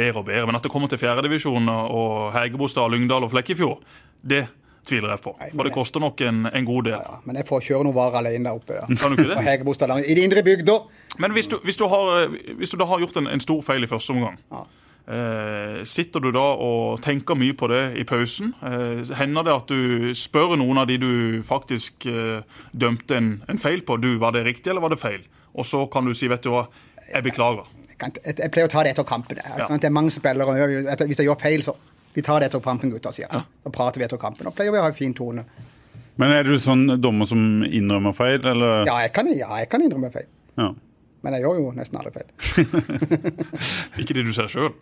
Speaker 2: bedre og bedre. Men at det kommer til fjerdedivisjon og Hegebostad, Lyngdal og Flekkefjord, det tviler jeg på. For det koster nok en, en god del.
Speaker 3: Ja, men jeg får kjøre noe varer alene der oppe. Der.
Speaker 2: Kan du ikke det?
Speaker 3: På Hegebostad lang- I de indre bygder.
Speaker 2: Men hvis du, hvis du, har, eh, hvis du da har gjort en, en stor feil i første omgang, eh, sitter du da og tenker mye på det i pausen? Eh, hender det at du spør noen av de du faktisk eh, dømte en, en feil på, du, var det riktig eller var det feil? Og så kan du si, vet du hva, jeg beklager.
Speaker 3: Jeg, kan, jeg, jeg pleier å ta det etter kampen. jeg.
Speaker 2: Ja.
Speaker 3: Sånn at Det er mange spillere. og jeg- etter- Hvis jeg gjør feil, så Vi tar det etter kampen, gutter, sier jeg. Da prater vi etter kampen. Og pleier vi å ha en fin tone.
Speaker 1: Men er du sånn dommer som innrømmer feil, eller?
Speaker 3: Ja, jeg kan, ja, jeg kan innrømme feil.
Speaker 1: Ja.
Speaker 3: Men jeg gjør jo nesten alle feil.
Speaker 2: Ikke det du ser sjøl.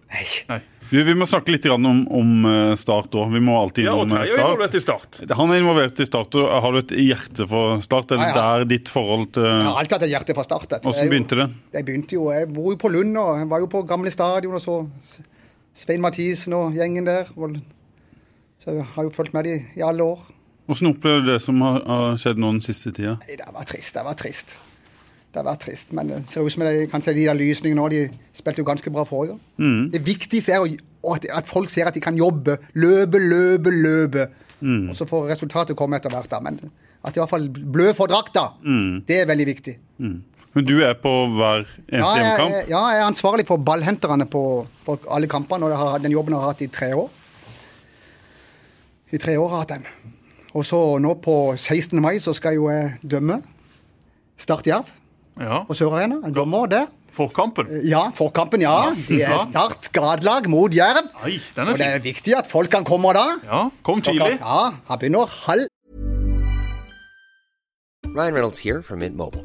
Speaker 1: Du, vi må snakke litt grann om, om eh, Start òg. Vi må alltid
Speaker 2: Ja, og
Speaker 1: innom eh,
Speaker 2: Terje er involvert i Start.
Speaker 1: Han er involvert i Start. og Har du et hjerte for Start? Er det
Speaker 3: Ja, ja.
Speaker 1: der ditt forhold til
Speaker 3: Jeg har alltid hatt et hjerte fra start. dette.
Speaker 1: Hvordan
Speaker 3: Jeg er jo-
Speaker 1: begynte det?
Speaker 3: Jeg begynte jo, jeg bor jo på Lund, og jeg var jo på gamle stadion og så S- Svein Mathisen og gjengen der. Og så jeg har jo fulgt med de i alle år.
Speaker 1: Hvordan opplever du det som har, har skjedd nå den siste tida?
Speaker 3: Nei, det var trist, det var trist. Det var trist, men det ser ut som de kan se de der lysningene nå. De spilte jo ganske bra forrige gang.
Speaker 1: Mm.
Speaker 3: Det viktigste er å, å- at, at folk ser at de kan jobbe. Løpe, løpe, løpe.
Speaker 1: Mm.
Speaker 3: Og så får resultatet komme etter hvert. da, Men at de i hvert fall blør for drakta,
Speaker 1: Mm.
Speaker 3: det er veldig viktig.
Speaker 1: Men du er på hver eneste
Speaker 3: Ja, jeg,
Speaker 1: hjemmekamp.
Speaker 3: ja, jeg er ansvarlig for ballhenterne på, på alle kampene, og jeg har, den jobben jeg har hatt i tre år. I tre år har jeg hatt den. Og så nå på 16. mai så skal jo jeg dømme Start Jerv
Speaker 2: Ja,
Speaker 3: på Sør Arena. En dommer der.
Speaker 2: Forkampen.
Speaker 3: Ja, forkampen, ja. De er
Speaker 2: Ja.
Speaker 3: Start gradelag mot Jerv.
Speaker 2: Nei, den er
Speaker 3: Og det
Speaker 2: fin.
Speaker 3: er viktig at folk kan komme da.
Speaker 2: Ja, kom tidlig.
Speaker 3: Ja, han begynner halv
Speaker 4: Ryan Reynolds here from Mint Mobile.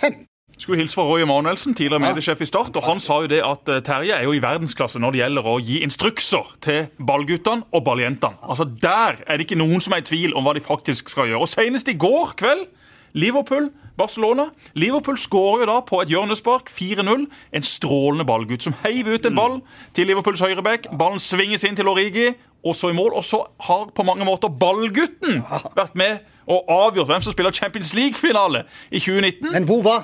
Speaker 3: fem.
Speaker 2: Skulle hilse fra Roy Emanuelsen, tidligere mediesjef i Start. og Han sa jo det at eh, Terje er jo i verdensklasse når det gjelder å gi instrukser til ballguttene og balljentene. Altså Der er det ikke noen som er i tvil om hva de faktisk skal gjøre. Og Senest i går kveld Liverpool, Barcelona. Liverpool skårer jo da på et hjørnespark, 4-0. En strålende ballgutt som heiv ut en ball til Liverpools høyreback. Ballen svinges inn til Origi, og så i mål. Og så har på mange måter ballgutten vært med og avgjort hvem som spiller Champions League-finale i 2019.
Speaker 3: Men hvor var,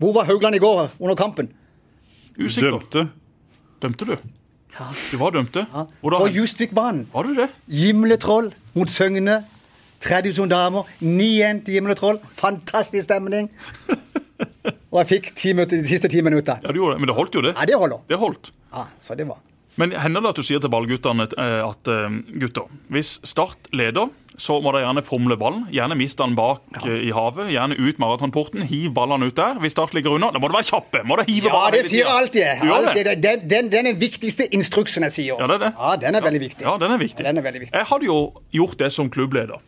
Speaker 3: hvor var Haugland i går under kampen?
Speaker 2: Usikker.
Speaker 1: Dømte.
Speaker 2: Dømte du? Du var dømte? Hvor da?
Speaker 3: På Justvikbanen.
Speaker 2: Var du det?
Speaker 3: Gimletroll mot Søgne. 3000 damer. 9-1 til Gimletroll. Fantastisk stemning. Og jeg fikk ti minutter, de siste ti minuttene.
Speaker 2: Ja, du gjorde det. Men det holdt jo, det.
Speaker 3: Ja, det holder.
Speaker 2: Det holdt.
Speaker 3: Ja, så det var.
Speaker 2: Men hender det at du sier til ballguttene at, eh, at eh, gutter, hvis Start leder, så må de gjerne fomle ballen. Gjerne miste den bak eh, i havet. Gjerne ut maratonporten. Hiv ballene ut der. Hvis Start ligger unna, da må du være kjappe. Må du hive
Speaker 3: Ja,
Speaker 2: ballen
Speaker 3: det
Speaker 2: hele
Speaker 3: sier jeg
Speaker 2: tiden.
Speaker 3: alltid.
Speaker 2: Du gjør
Speaker 3: alltid. Den, den, den, den er viktigste instruksen jeg sier.
Speaker 2: Ja, det er det.
Speaker 3: Ja, den er veldig viktig.
Speaker 2: Ja, den er viktig.
Speaker 3: Ja, den er veldig viktig.
Speaker 2: Jeg hadde jo gjort det som klubbleder.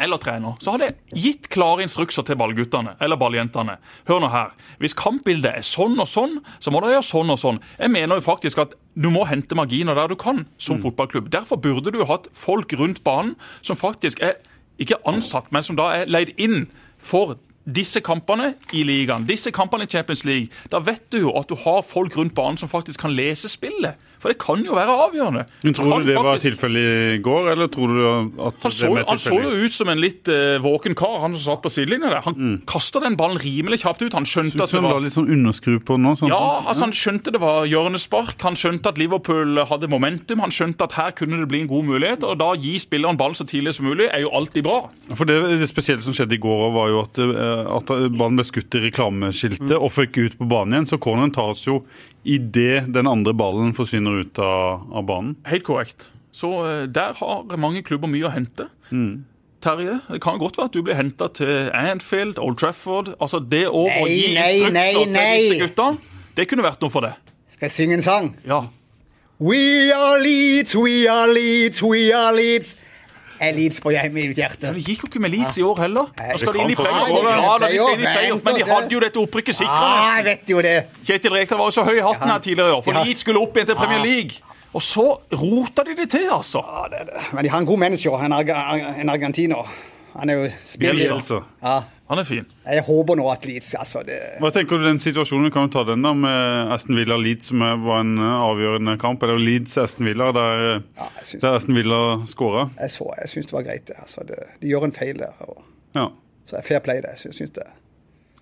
Speaker 2: eller trener, så hadde jeg gitt klare instrukser til ballguttene eller balljentene. Hør nå her. Hvis kampbildet er sånn og sånn, så må dere gjøre sånn og sånn. Jeg mener jo faktisk at du må hente marginer der du kan
Speaker 1: Mm.
Speaker 2: som fotballklubb. Derfor burde du hatt folk rundt banen som faktisk er ikke ansatt, men som da er leid inn for disse kampene i ligaen, disse kampene i Champions League. Da vet du jo at du har folk rundt banen som faktisk kan lese spillet. For det kan jo være avgjørende.
Speaker 1: Men tror du
Speaker 2: Kan
Speaker 1: det var
Speaker 2: faktisk-
Speaker 1: tilfellet i går, eller tror du at
Speaker 2: han så,
Speaker 1: det
Speaker 2: han så
Speaker 1: tilfeldig?
Speaker 2: jo ut som en litt eh, våken kar, han som satt på sidelinja der. Han kasta den ballen rimelig kjapt ut. Han skjønte
Speaker 1: Synes
Speaker 2: at det
Speaker 1: han la
Speaker 2: Mm. var
Speaker 1: litt sånn underskru på nå? Sånn.
Speaker 2: ja, altså Han skjønte det var hjørnespark, han skjønte at Liverpool hadde momentum. Han skjønte at her kunne det bli en god mulighet, og da gi spilleren ballen så tidlig som mulig er jo alltid bra.
Speaker 1: For det, det spesielle som skjedde i går, var jo at, eh, at ballen ble skutt i reklameskiltet
Speaker 3: Mm.
Speaker 1: og fikk ut på banen igjen. Så corneren tas jo idet den andre ballen forsvinner ut av, av banen.
Speaker 2: Helt korrekt. Så eh, der har mange klubber mye å hente. Terje, det kan godt være at du blir henta til Anfield, Old Trafford. Altså Det å, å
Speaker 3: Nei,
Speaker 2: gi
Speaker 3: nei,
Speaker 2: instrukser
Speaker 3: nei, nei.
Speaker 2: til disse gutta, det kunne vært noe for deg.
Speaker 3: Skal jeg synge en sang?
Speaker 2: Ja.
Speaker 3: We are Leeds, we are Leeds, we are Leeds. Jeg er Leeds på hjemme i mitt hjerte.
Speaker 2: Men Det gikk jo ikke med Leeds i år heller. Nå skal
Speaker 1: Det
Speaker 2: de inn i
Speaker 1: kan
Speaker 2: playoff.
Speaker 1: faktisk-
Speaker 2: Ja, da, de skal inn i
Speaker 3: Ja, altså.
Speaker 2: playoff, men de
Speaker 3: vent og se.
Speaker 2: hadde jo dette opprykket
Speaker 3: Ah,
Speaker 2: sikra.
Speaker 3: jeg vet jo det.
Speaker 2: Kjetil Rekdal var jo så høy i hatten her tidligere i år, for
Speaker 3: Ja.
Speaker 2: Leeds skulle opp igjen til Premier
Speaker 3: Ah.
Speaker 2: League. Og så rota de det til, altså.
Speaker 3: Men de har en god manager, en, arga- en argentiner. Han er jo spiller.
Speaker 1: Bielsa.
Speaker 3: Ja,
Speaker 2: Han er fin.
Speaker 3: jeg håper nå at Leeds altså det...
Speaker 1: Hva tenker du den situasjonen? Kan du ta den da med Aston Villa Leeds, som er- var en eh, avgjørende kamp? Eller Leeds-Aston Villa, der, eh,
Speaker 3: Ja, jeg syns-
Speaker 1: der Aston Villa skåra?
Speaker 3: Jeg, så, jeg syns det var greit. det, Altså, det, de gjør en feil der. Og,
Speaker 1: Ja.
Speaker 3: så jeg fair play det. Jeg syns- syns det.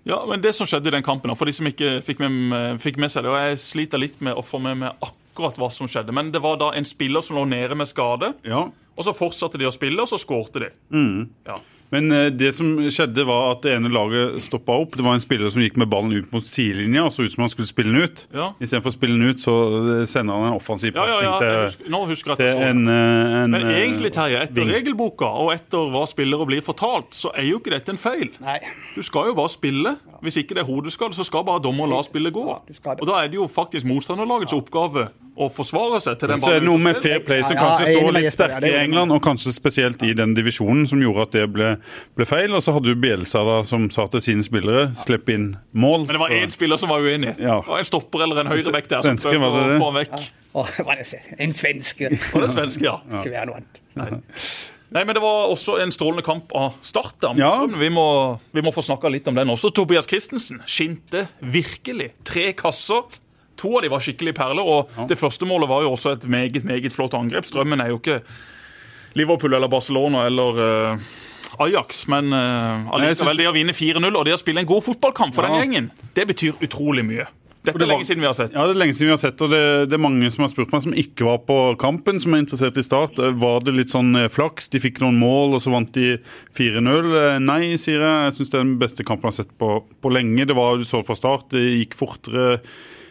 Speaker 2: Ja, men Det som skjedde i den kampen, da, for de som ikke fikk med, fikk med seg det og Jeg sliter litt med å få med meg akkurat hva som skjedde. Men det var da en spiller som lå nede med skade.
Speaker 1: ja.
Speaker 2: Og så fortsatte de å spille, og så skårte de.
Speaker 3: Mm.
Speaker 2: Ja.
Speaker 1: Men eh, det som skjedde var at det ene laget stoppa opp. Det var en spiller som gikk med ballen ut mot sidelinja og så ut som han skulle spille den ut.
Speaker 2: Ja.
Speaker 1: Istedenfor å spille den ut, så eh, sender han en offensiv
Speaker 2: Ja, ja,
Speaker 1: pasning
Speaker 2: ja, jeg
Speaker 1: til,
Speaker 2: husker, nå husker jeg at jeg
Speaker 1: til
Speaker 2: så det.
Speaker 1: en, eh, en
Speaker 2: Men
Speaker 1: eh,
Speaker 2: egentlig, Terje, etter
Speaker 1: ving.
Speaker 2: regelboka og etter hva spillere blir fortalt, så er jo ikke dette en feil.
Speaker 3: Nei.
Speaker 2: Du skal jo bare spille. Hvis ikke det er hodeskade, så skal bare dommer la spillet gå.
Speaker 3: du skal det.
Speaker 2: Og da er det jo faktisk motstanderlagets oppgave å forsvare seg til den
Speaker 1: Så er det noe med
Speaker 2: ute
Speaker 1: fair play som
Speaker 3: Ja, ja,
Speaker 1: kanskje
Speaker 3: jeg er
Speaker 1: står
Speaker 3: enig med
Speaker 1: litt
Speaker 3: Jesper, ja,
Speaker 1: sterkere
Speaker 3: det
Speaker 1: i
Speaker 3: er jeg enig med.
Speaker 1: England, og kanskje spesielt i den divisjonen, som gjorde at det ble, ble feil. Og så hadde du Bielsa da, som sa til sine spillere slipp inn mål.
Speaker 2: Men det var
Speaker 1: så-
Speaker 2: én spiller som var uenig.
Speaker 1: Ja.
Speaker 2: Og en stopper eller en høyrebekk der.
Speaker 1: Svenske,
Speaker 2: som prøvde
Speaker 1: var det
Speaker 2: å
Speaker 1: det?
Speaker 2: få han vekk.
Speaker 3: Å, hva er det jeg sier? En svenske.
Speaker 2: Og det er svenske, ja.
Speaker 3: Ikke være noe annet.
Speaker 2: Nei, men Det var også en strålende kamp av Start. da.
Speaker 1: Ja.
Speaker 2: Vi, må, vi må få snakka litt om den også. Tobias Christensen skinte virkelig. Tre kasser. To av de var skikkelig perler. og Det første målet var jo også et meget meget flott angrep. Strømmen er jo ikke Liverpool eller Barcelona eller eh, Ajax, men eh,
Speaker 1: jeg
Speaker 2: allikevel
Speaker 1: synes-
Speaker 2: det å vinne 4-0 og det å spille en god fotballkamp for
Speaker 1: Ja.
Speaker 2: den gjengen, det betyr utrolig mye. Dette
Speaker 1: det
Speaker 2: er
Speaker 1: var-
Speaker 2: lenge siden vi har sett.
Speaker 1: Ja, det er lenge siden vi har sett, og det, det er mange som har spurt meg som ikke var på kampen, som er interessert i Start. Eh, Var det litt sånn eh, flaks? De fikk noen mål, og så vant de 4-0. Eh, Nei, sier jeg. Jeg syns det er den beste kampen jeg har sett på, på lenge. Det var du så det fra start, det gikk fortere.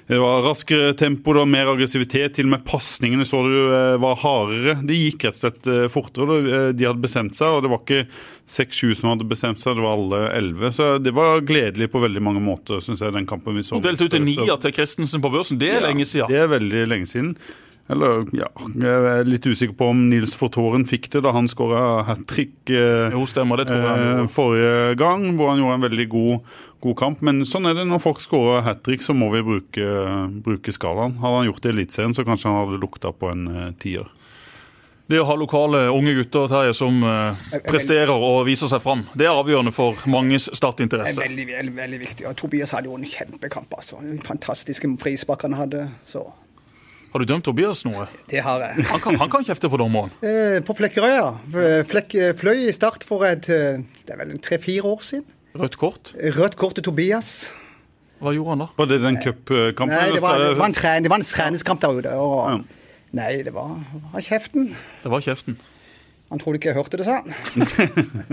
Speaker 1: Det var raskere tempo, det var mer aggressivitet. Til og med pasningene så du eh, var hardere. De gikk rett og slett eh, fortere. og, eh, De hadde bestemt seg, og det var ikke seks-sju som hadde bestemt seg, det var alle elleve. Så det var gledelig på veldig mange måter, syns jeg, den kampen vi så. eh,
Speaker 2: Delt ut en nier til Christensen på børsen, det er lenge siden.
Speaker 1: Det er veldig lenge siden. Eller, ja Jeg er litt usikker på om Nils Fortoren fikk det da han skåra hat trick eh,
Speaker 2: Jo, stemmer, det tror jeg han
Speaker 1: eh,
Speaker 2: gjorde.
Speaker 1: forrige gang, hvor han gjorde en veldig god, god kamp. Men sånn er det når folk skårer hat trick, så må vi bruke, bruke skalaen. Hadde han gjort det i Eliteserien, så kanskje han hadde lukta på en eh, tier.
Speaker 2: Det å ha lokale unge gutter Terje, som eh, presterer og viser seg fram, det er avgjørende for manges
Speaker 3: Det er
Speaker 2: startinteresse.
Speaker 3: veldig, veldig, veldig viktig. Og Tobias hadde jo en kjempekamp. altså. Den fantastiske frisbakken han hadde. Så
Speaker 2: Har du dømt Tobias noe?
Speaker 3: det har jeg.
Speaker 2: Han kan, han kan kjefte på dommeren.
Speaker 3: Eh, På Flekkerøy, ja. F- Flekk, eh, fløy i start for et eh, det er vel en tre-fire år siden.
Speaker 2: Rødt kort.
Speaker 3: Rødt kort til Tobias.
Speaker 2: Hva gjorde han da?
Speaker 1: Var det den eh, cupkampen?
Speaker 3: Eh, Nei, det var, det
Speaker 1: eller-
Speaker 3: var, en, tren, det var en treningskamp der ute. Og, nei, det var, var kjeften.
Speaker 2: Det var kjeften.
Speaker 3: Han trodde ikke jeg hørte det, sa han.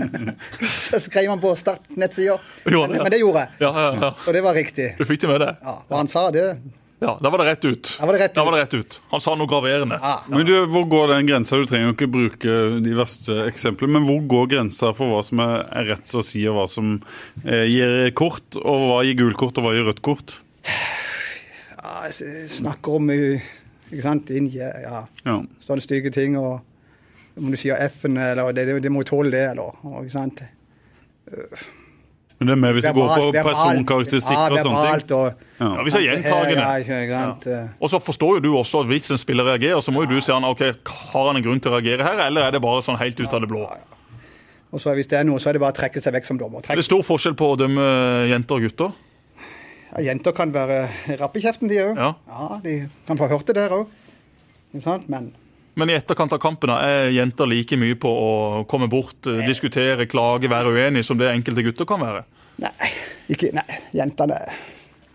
Speaker 3: så skrev han på Starts nettsider.
Speaker 2: Gjorde
Speaker 3: Men,
Speaker 2: det?
Speaker 3: men det gjorde jeg.
Speaker 2: Ja, ja, ja.
Speaker 3: Og det var riktig.
Speaker 2: Du fikk det med deg?
Speaker 3: Ja, og han sa det.
Speaker 2: Ja, Da var det rett ut.
Speaker 3: var det rett
Speaker 2: Da
Speaker 3: ut.
Speaker 2: var det rett ut. Han sa noe graverende.
Speaker 1: Men du, Hvor går den grensa? Du trenger jo ikke bruke de verste eksemplene, men hvor går grensa for hva som er er rett å si, og hva som eh, gir kort, og hva gir gult kort, og hva gir rødt kort?
Speaker 3: Ja, jeg s- snakker om uh, ikke eh, sant, Inje, ja.
Speaker 1: Ja.
Speaker 3: sånne stygge ting. Og Om du sier F-en, eller det, det må jo tåle det, eller og, ikke sant?
Speaker 1: Men det er med hvis du går på
Speaker 3: Verbalt- verbalt-
Speaker 1: personkarakteristikker og sånne
Speaker 3: verbalt
Speaker 1: ting.
Speaker 3: og-
Speaker 1: Ja.
Speaker 2: Ja, hvis det er gjentagende.
Speaker 3: Ja, ikke sant? Eh,
Speaker 2: Og så forstår jo du også at hvis en spiller reagerer, så må jo du se han, ok, har han en grunn til å reagere her, eller er det bare sånn helt ut av det blå?
Speaker 3: Og så hvis det er noe, så er det bare å trekke seg vekk som dommer.
Speaker 2: Er
Speaker 3: Trekk.
Speaker 2: det stor forskjell på å dømme jenter og gutter?
Speaker 3: Ja, jenter kan være rappe i kjeften, de òg.
Speaker 2: Ja.
Speaker 3: de kan få hørt det der òg. Ikke sant? Men
Speaker 2: Men i etterkant av kampen da, er jenter like mye på å komme bort, eh, diskutere, klage, være uenig, som det enkelte gutter kan være?
Speaker 3: nei, ikke, nei jentene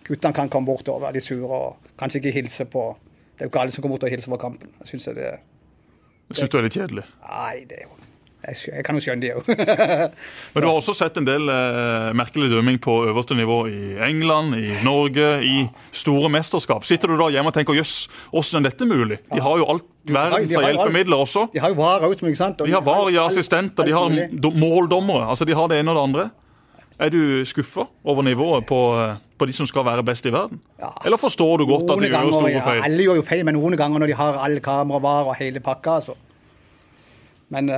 Speaker 3: Guttene kan komme bort og være litt sure og kanskje ikke hilse på Det er jo ikke alle som kommer bort og hilser på kampen. Jeg synes det er
Speaker 2: Jeg synes det er litt kjedelig.
Speaker 3: Nei, det er jo Jeg, skj- jeg kan jo skjønne det òg.
Speaker 2: Men du har også sett en del eh, merkelig dømming på øverste nivå i England, i Norge, i store mesterskap. Sitter du da hjemme og tenker jøss, hvordan er dette mulig? De har jo alt verdens
Speaker 3: har
Speaker 2: av
Speaker 3: jo alt.
Speaker 2: hjelpemidler også.
Speaker 3: De har jo VAR òg, ikke sant? Og
Speaker 2: De har varige
Speaker 3: alt-
Speaker 2: assistenter, de
Speaker 3: alt
Speaker 2: har
Speaker 3: mulig.
Speaker 2: do- måldommere. Altså, de har det ene og det andre. Er du skuffa over nivået på, eh, på de som skal være best i verden? Eller forstår du godt at de
Speaker 3: Noen
Speaker 2: gjør
Speaker 3: ganger,
Speaker 2: store
Speaker 3: ja,
Speaker 2: feil?
Speaker 3: Alle gjør jo feil, men noen ganger når de har alle kamera, var og hele pakka, altså. Men eh,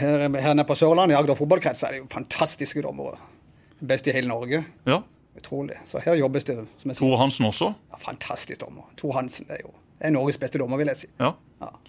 Speaker 3: her, her nede på Sørlandet, i Agder fotballkrets, er det jo fantastiske dommere. Best i hele Norge.
Speaker 2: Ja.
Speaker 3: Utrolig. Så her jobbes det som jeg sier.
Speaker 2: Tore Hansen også.
Speaker 3: Ja, fantastisk dommer. Tor Hansen det er jo det er Norges beste dommer, vil jeg si.
Speaker 2: Ja.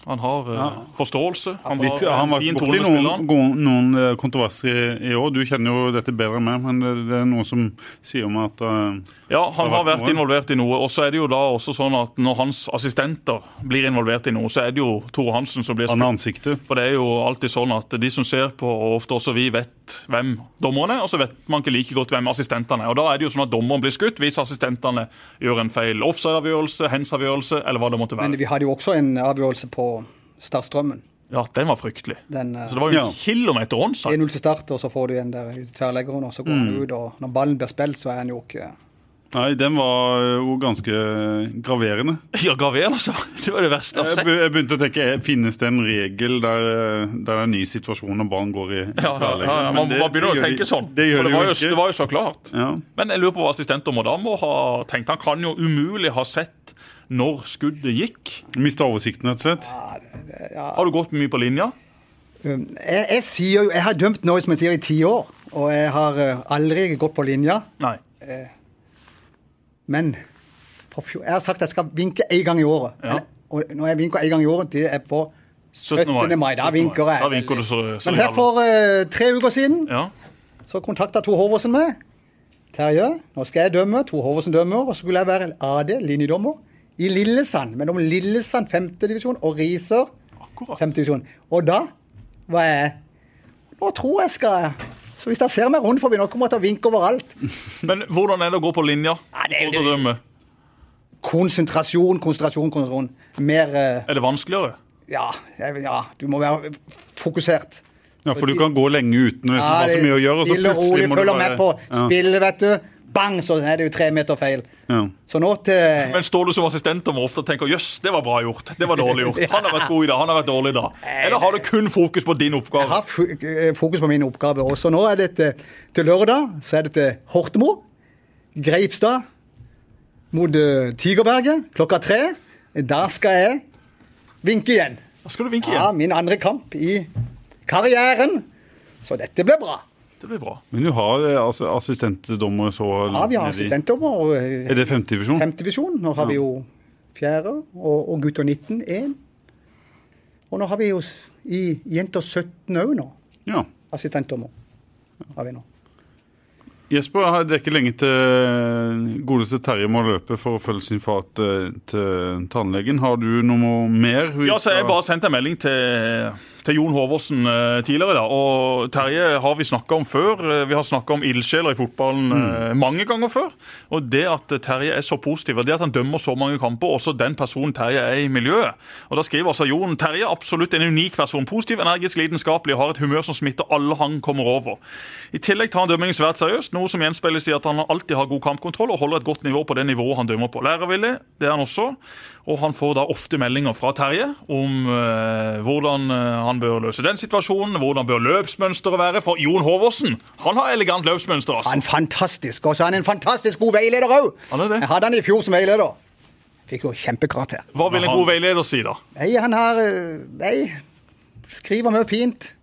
Speaker 2: Han har eh, forståelse. Han
Speaker 1: Litt, han var
Speaker 2: en fin
Speaker 1: ikke
Speaker 2: tone
Speaker 1: borti
Speaker 2: med
Speaker 1: noen,
Speaker 2: spilleren.
Speaker 1: go- noen eh, kontroverser i, i år. Du kjenner jo dette bedre enn meg, men det, det er noe som sier meg at eh,
Speaker 2: Ja, han
Speaker 1: Det
Speaker 2: har
Speaker 1: har vært
Speaker 2: vært
Speaker 1: noe.
Speaker 2: involvert i noe. Og så er det jo da også sånn at når hans assistenter blir involvert i noe, så er det jo Tore Hansen som
Speaker 1: han
Speaker 2: blir skutt.
Speaker 1: har ansiktet.
Speaker 2: For det er jo alltid sånn at de som ser på, og ofte også vi, vet hvem dommerne er, og så vet man ikke like godt hvem assistentene er. Og da er det jo sånn at dommeren blir skutt hvis assistentene gjør en feil offside-avgjørelse, hands-avgjørelse, eller hva det måtte
Speaker 3: Men
Speaker 2: være.
Speaker 3: vi hadde jo også en avgjørelse på Startstrømmen.
Speaker 2: Ja, den var fryktelig.
Speaker 3: Den, eh,
Speaker 2: Så det var jo
Speaker 1: Ja.
Speaker 2: en kilometer onside.
Speaker 3: 1-0 til start, og så får du en der i tverrleggeren, og så går
Speaker 2: Mm.
Speaker 3: han ut, og når ballen blir spilt, så er han jo ikke
Speaker 1: Nei, den var eh, jo ganske eh, graverende.
Speaker 2: Ja, Graver, altså. Det var det verste jeg har
Speaker 1: Jeg,
Speaker 2: sett.
Speaker 1: be- jeg begynte å tenke, eh, finnes det en regel der, eh, der det er en ny situasjon når barn går i i
Speaker 2: Ja, ja,
Speaker 1: tverrlegger?
Speaker 2: ja, ja,
Speaker 1: Men
Speaker 2: man,
Speaker 1: det-
Speaker 2: man begynner
Speaker 1: det
Speaker 2: å
Speaker 1: gjør de-
Speaker 2: tenke sånn.
Speaker 1: Det
Speaker 2: For
Speaker 1: gjør de
Speaker 2: var
Speaker 1: jo
Speaker 2: jo,
Speaker 1: ikke.
Speaker 2: det var jo så klart.
Speaker 1: Ja.
Speaker 2: Men jeg lurer på hva assistentdommer da må ha tenkt. Han kan jo umulig ha sett når skuddet gikk.
Speaker 1: Mista oversikten, rett og slett.
Speaker 2: Har du gått mye på linja?
Speaker 3: Um, Jeg, jeg sier jo, jeg har dømt nå som jeg sier i ti år, og jeg har eh, aldri gått på linja.
Speaker 2: Nei.
Speaker 3: Men for fjor, jeg har sagt at jeg skal vinke én gang i året.
Speaker 2: Ja.
Speaker 3: Eller- Og når jeg vinker én gang i året, det er på
Speaker 2: 17. mai.
Speaker 3: 17. mai. Da
Speaker 2: 17.
Speaker 3: vinker jeg.
Speaker 2: Da vinker du så, så
Speaker 3: Men her
Speaker 2: jævlig.
Speaker 3: for eh, tre uker siden
Speaker 2: Ja.
Speaker 3: så kontakta Tor Håvardsen meg. Terje, nå skal jeg dømme. Tor Håvardsen dømmer. Og så skulle jeg være AD, linjedommer, i Lillesand. Mellom Lillesand 5. divisjon og Risør
Speaker 2: Akkurat.
Speaker 3: 5. divisjon. Og da var jeg Nå tror jeg skal Så hvis dere ser meg rundt forbi, nå kommer jeg til å vinke overalt.
Speaker 2: Men hvordan er det å gå på linja?
Speaker 3: Ja, det er
Speaker 2: Forhold
Speaker 3: jo-
Speaker 2: til å dømme?
Speaker 3: Konsentrasjon, konsentrasjon, konsentrasjon. Mer eh,
Speaker 2: Er det vanskeligere?
Speaker 3: Ja, jeg- ja, du må være fokusert.
Speaker 1: Ja, For du kan gå lenge uten å liksom, ha
Speaker 3: Ja,
Speaker 1: så
Speaker 3: det-
Speaker 1: mye å gjøre, og så
Speaker 3: stille og
Speaker 1: plutselig
Speaker 3: rolig,
Speaker 1: må du
Speaker 3: følger
Speaker 1: bare
Speaker 3: med på spillet, vet du. Bang, så er det jo tre meter feil.
Speaker 1: Ja.
Speaker 3: Så nå til
Speaker 2: Men står du som assistent og må ofte tenke jøss, det var bra gjort. Det var dårlig gjort. Han har vært god i dag, han har vært dårlig i dag. Eller har du kun fokus på din
Speaker 3: Jeg har
Speaker 2: oppgave?
Speaker 3: fu- eh, fokus på min oppgave. Og så nå er det til, til lørdag så er det til Hortemo, Greipstad mot eh, Tigerberget klokka tre. Der skal jeg vinke igjen.
Speaker 2: Da skal du vinke
Speaker 3: Ja,
Speaker 2: igjen.
Speaker 3: min andre kamp i karrieren. Så dette blir bra.
Speaker 2: Det blir bra.
Speaker 1: Men du har eh, altså, assistentdommere så
Speaker 3: Ja, vi har
Speaker 1: nedi.
Speaker 3: assistentdommer. og, eh,
Speaker 1: Er det femtedivisjon?
Speaker 3: femtedivisjon. Nå har vi jo fjerde, og, og gutter 19 1. Og nå har vi jo s- i jenter 17 òg nå,
Speaker 1: Ja.
Speaker 3: assistentdommer. Har vi nå.
Speaker 1: Jesper, har- det er ikke lenge til godeste Terje må løpe for å følge sin far til, eh, til tannlegen. Har du noe mer? vi
Speaker 2: Ja, så Jeg
Speaker 1: skal-
Speaker 2: bare sendte en melding til, til Jon Håvåsen eh, tidligere. da, og Terje har vi snakka om før. Eh, Vi har snakka om ildsjeler i fotballen eh, mange ganger før. Og Det at eh, Terje er så positiv, og det at han dømmer så mange kamper, også den personen Terje er i miljøet. Og Da skriver altså Jon Terje absolutt en unik person. Positiv, energisk, lidenskapelig og har et humør som smitter alle han kommer over. I tillegg tar han dømmingen svært seriøst, noe som gjenspeiles i at han alltid har god kampkontroll og holder et godt nivå på det nivået han dømmer på. Lærervillig, det er han også. Og han får da ofte meldinger fra Terje om eh, hvordan eh, han bør løse den situasjonen, hvordan bør løpsmønsteret være. For Jon Håvåsen, han har elegant løpsmønster, altså.
Speaker 3: Han er fantastisk, og så er han en fantastisk god veileder òg!
Speaker 2: Han er det.
Speaker 3: Jeg hadde han i fjor som veileder. Fikk jo kjempekarakter.
Speaker 2: Hva vil en god veileder si, da?
Speaker 3: Nei, han har eh, Nei, skriver mye fint.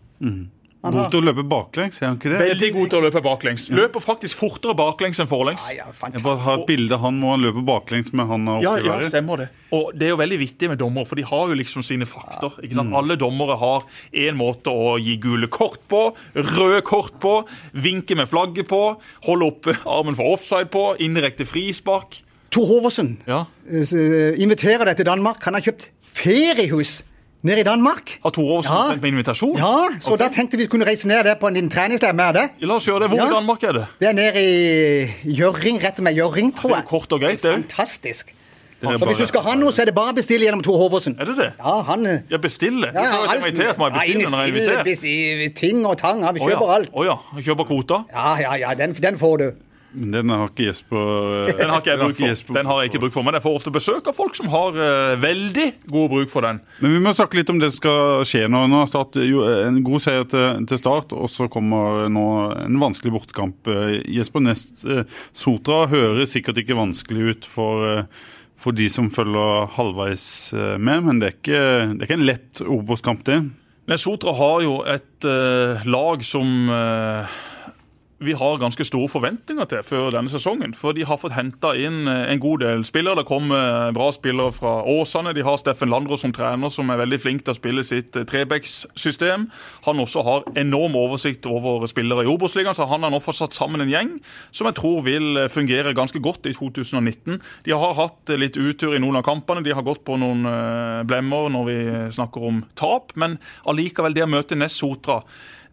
Speaker 3: Han
Speaker 1: God
Speaker 3: har,
Speaker 1: til å løpe baklengs, er han ikke det?
Speaker 2: Veldig god til å løpe baklengs. Løper faktisk fortere baklengs enn forlengs.
Speaker 3: ja,
Speaker 1: Jeg
Speaker 3: fantastisk.
Speaker 1: bare har et bilde han må han løpe baklengs med handa
Speaker 2: Ja,
Speaker 1: oppi
Speaker 2: ja,
Speaker 1: været.
Speaker 2: stemmer det. Og det er jo veldig vittig med dommere, for de har jo liksom sine fakter. Ikke
Speaker 3: Mm.
Speaker 2: sant? Alle dommere har én måte å gi gule kort på, røde kort på, vinke med flagget på, holde oppe armen for offside på, indirekte frispark.
Speaker 3: Tor Hoversen
Speaker 2: Ja.
Speaker 3: eh, s- eh, inviterer deg til Danmark. Han har kjøpt feriehus nede i Danmark.
Speaker 2: Har Tore også
Speaker 3: Ja.
Speaker 2: sendt meg invitasjon?
Speaker 3: Ja, så da tenkte vi kunne reise ned der på en liten treningsleir med det.
Speaker 2: La oss gjøre det. Hvor
Speaker 3: Ja.
Speaker 2: i Danmark er det?
Speaker 3: Det er nede i Gjøring, rett med Gjøring,
Speaker 2: Det
Speaker 3: tror
Speaker 2: er jo
Speaker 3: jeg.
Speaker 2: kort og greit, det.
Speaker 3: Fantastisk.
Speaker 1: er
Speaker 3: Så
Speaker 1: bare-
Speaker 3: hvis du skal ha noe, så er det bare å bestille gjennom Tor Hoversen.
Speaker 2: Er det det?
Speaker 3: Ja, han eh,
Speaker 2: Jeg bestiller.
Speaker 3: ja,
Speaker 2: Jeg sa jo at jeg
Speaker 3: alt
Speaker 2: var invitert, må jeg bestille når jeg er
Speaker 3: mulig. Ja,
Speaker 2: invitert?
Speaker 3: bestille ting og tang. Han
Speaker 2: Å ja.
Speaker 3: kjøper alt.
Speaker 2: Å ja. Jeg Kjøper kvota.
Speaker 3: Ja, ja, ja, den, den får du.
Speaker 1: Men Den har ikke Jesper eh,
Speaker 2: Den har ikke jeg bruk
Speaker 1: Jesper
Speaker 2: for. Den har jeg ikke bruk for, Men jeg får ofte besøk av folk som har eh, veldig god bruk for den.
Speaker 1: Men vi må snakke litt om det som skal skje nå. nå har start, jo, en god seier til, til start, og så kommer nå en vanskelig bortekamp. Eh, Jesper Nest eh, Sotra høres sikkert ikke vanskelig ut for, eh, for de som følger halvveis eh, med, men det er ikke, det er ikke en lett Obos-kamp, det.
Speaker 2: Men Sotra har jo et eh, lag som eh, vi har ganske store forventninger til før denne sesongen. For de har fått henta inn eh, en god del spillere. Det kom eh, bra spillere fra Åsane. De har Steffen Landro som trener, som er veldig flink til å spille sitt trebekssystem. Han også har enorm oversikt over spillere i Obos-ligaen, så han har nå fått satt sammen en gjeng som jeg tror vil eh, fungere ganske godt i 2019. De har hatt eh, litt utur i noen av kampene. De har gått på noen eh, blemmer når vi snakker om tap, men allikevel det å møte Ness Sotra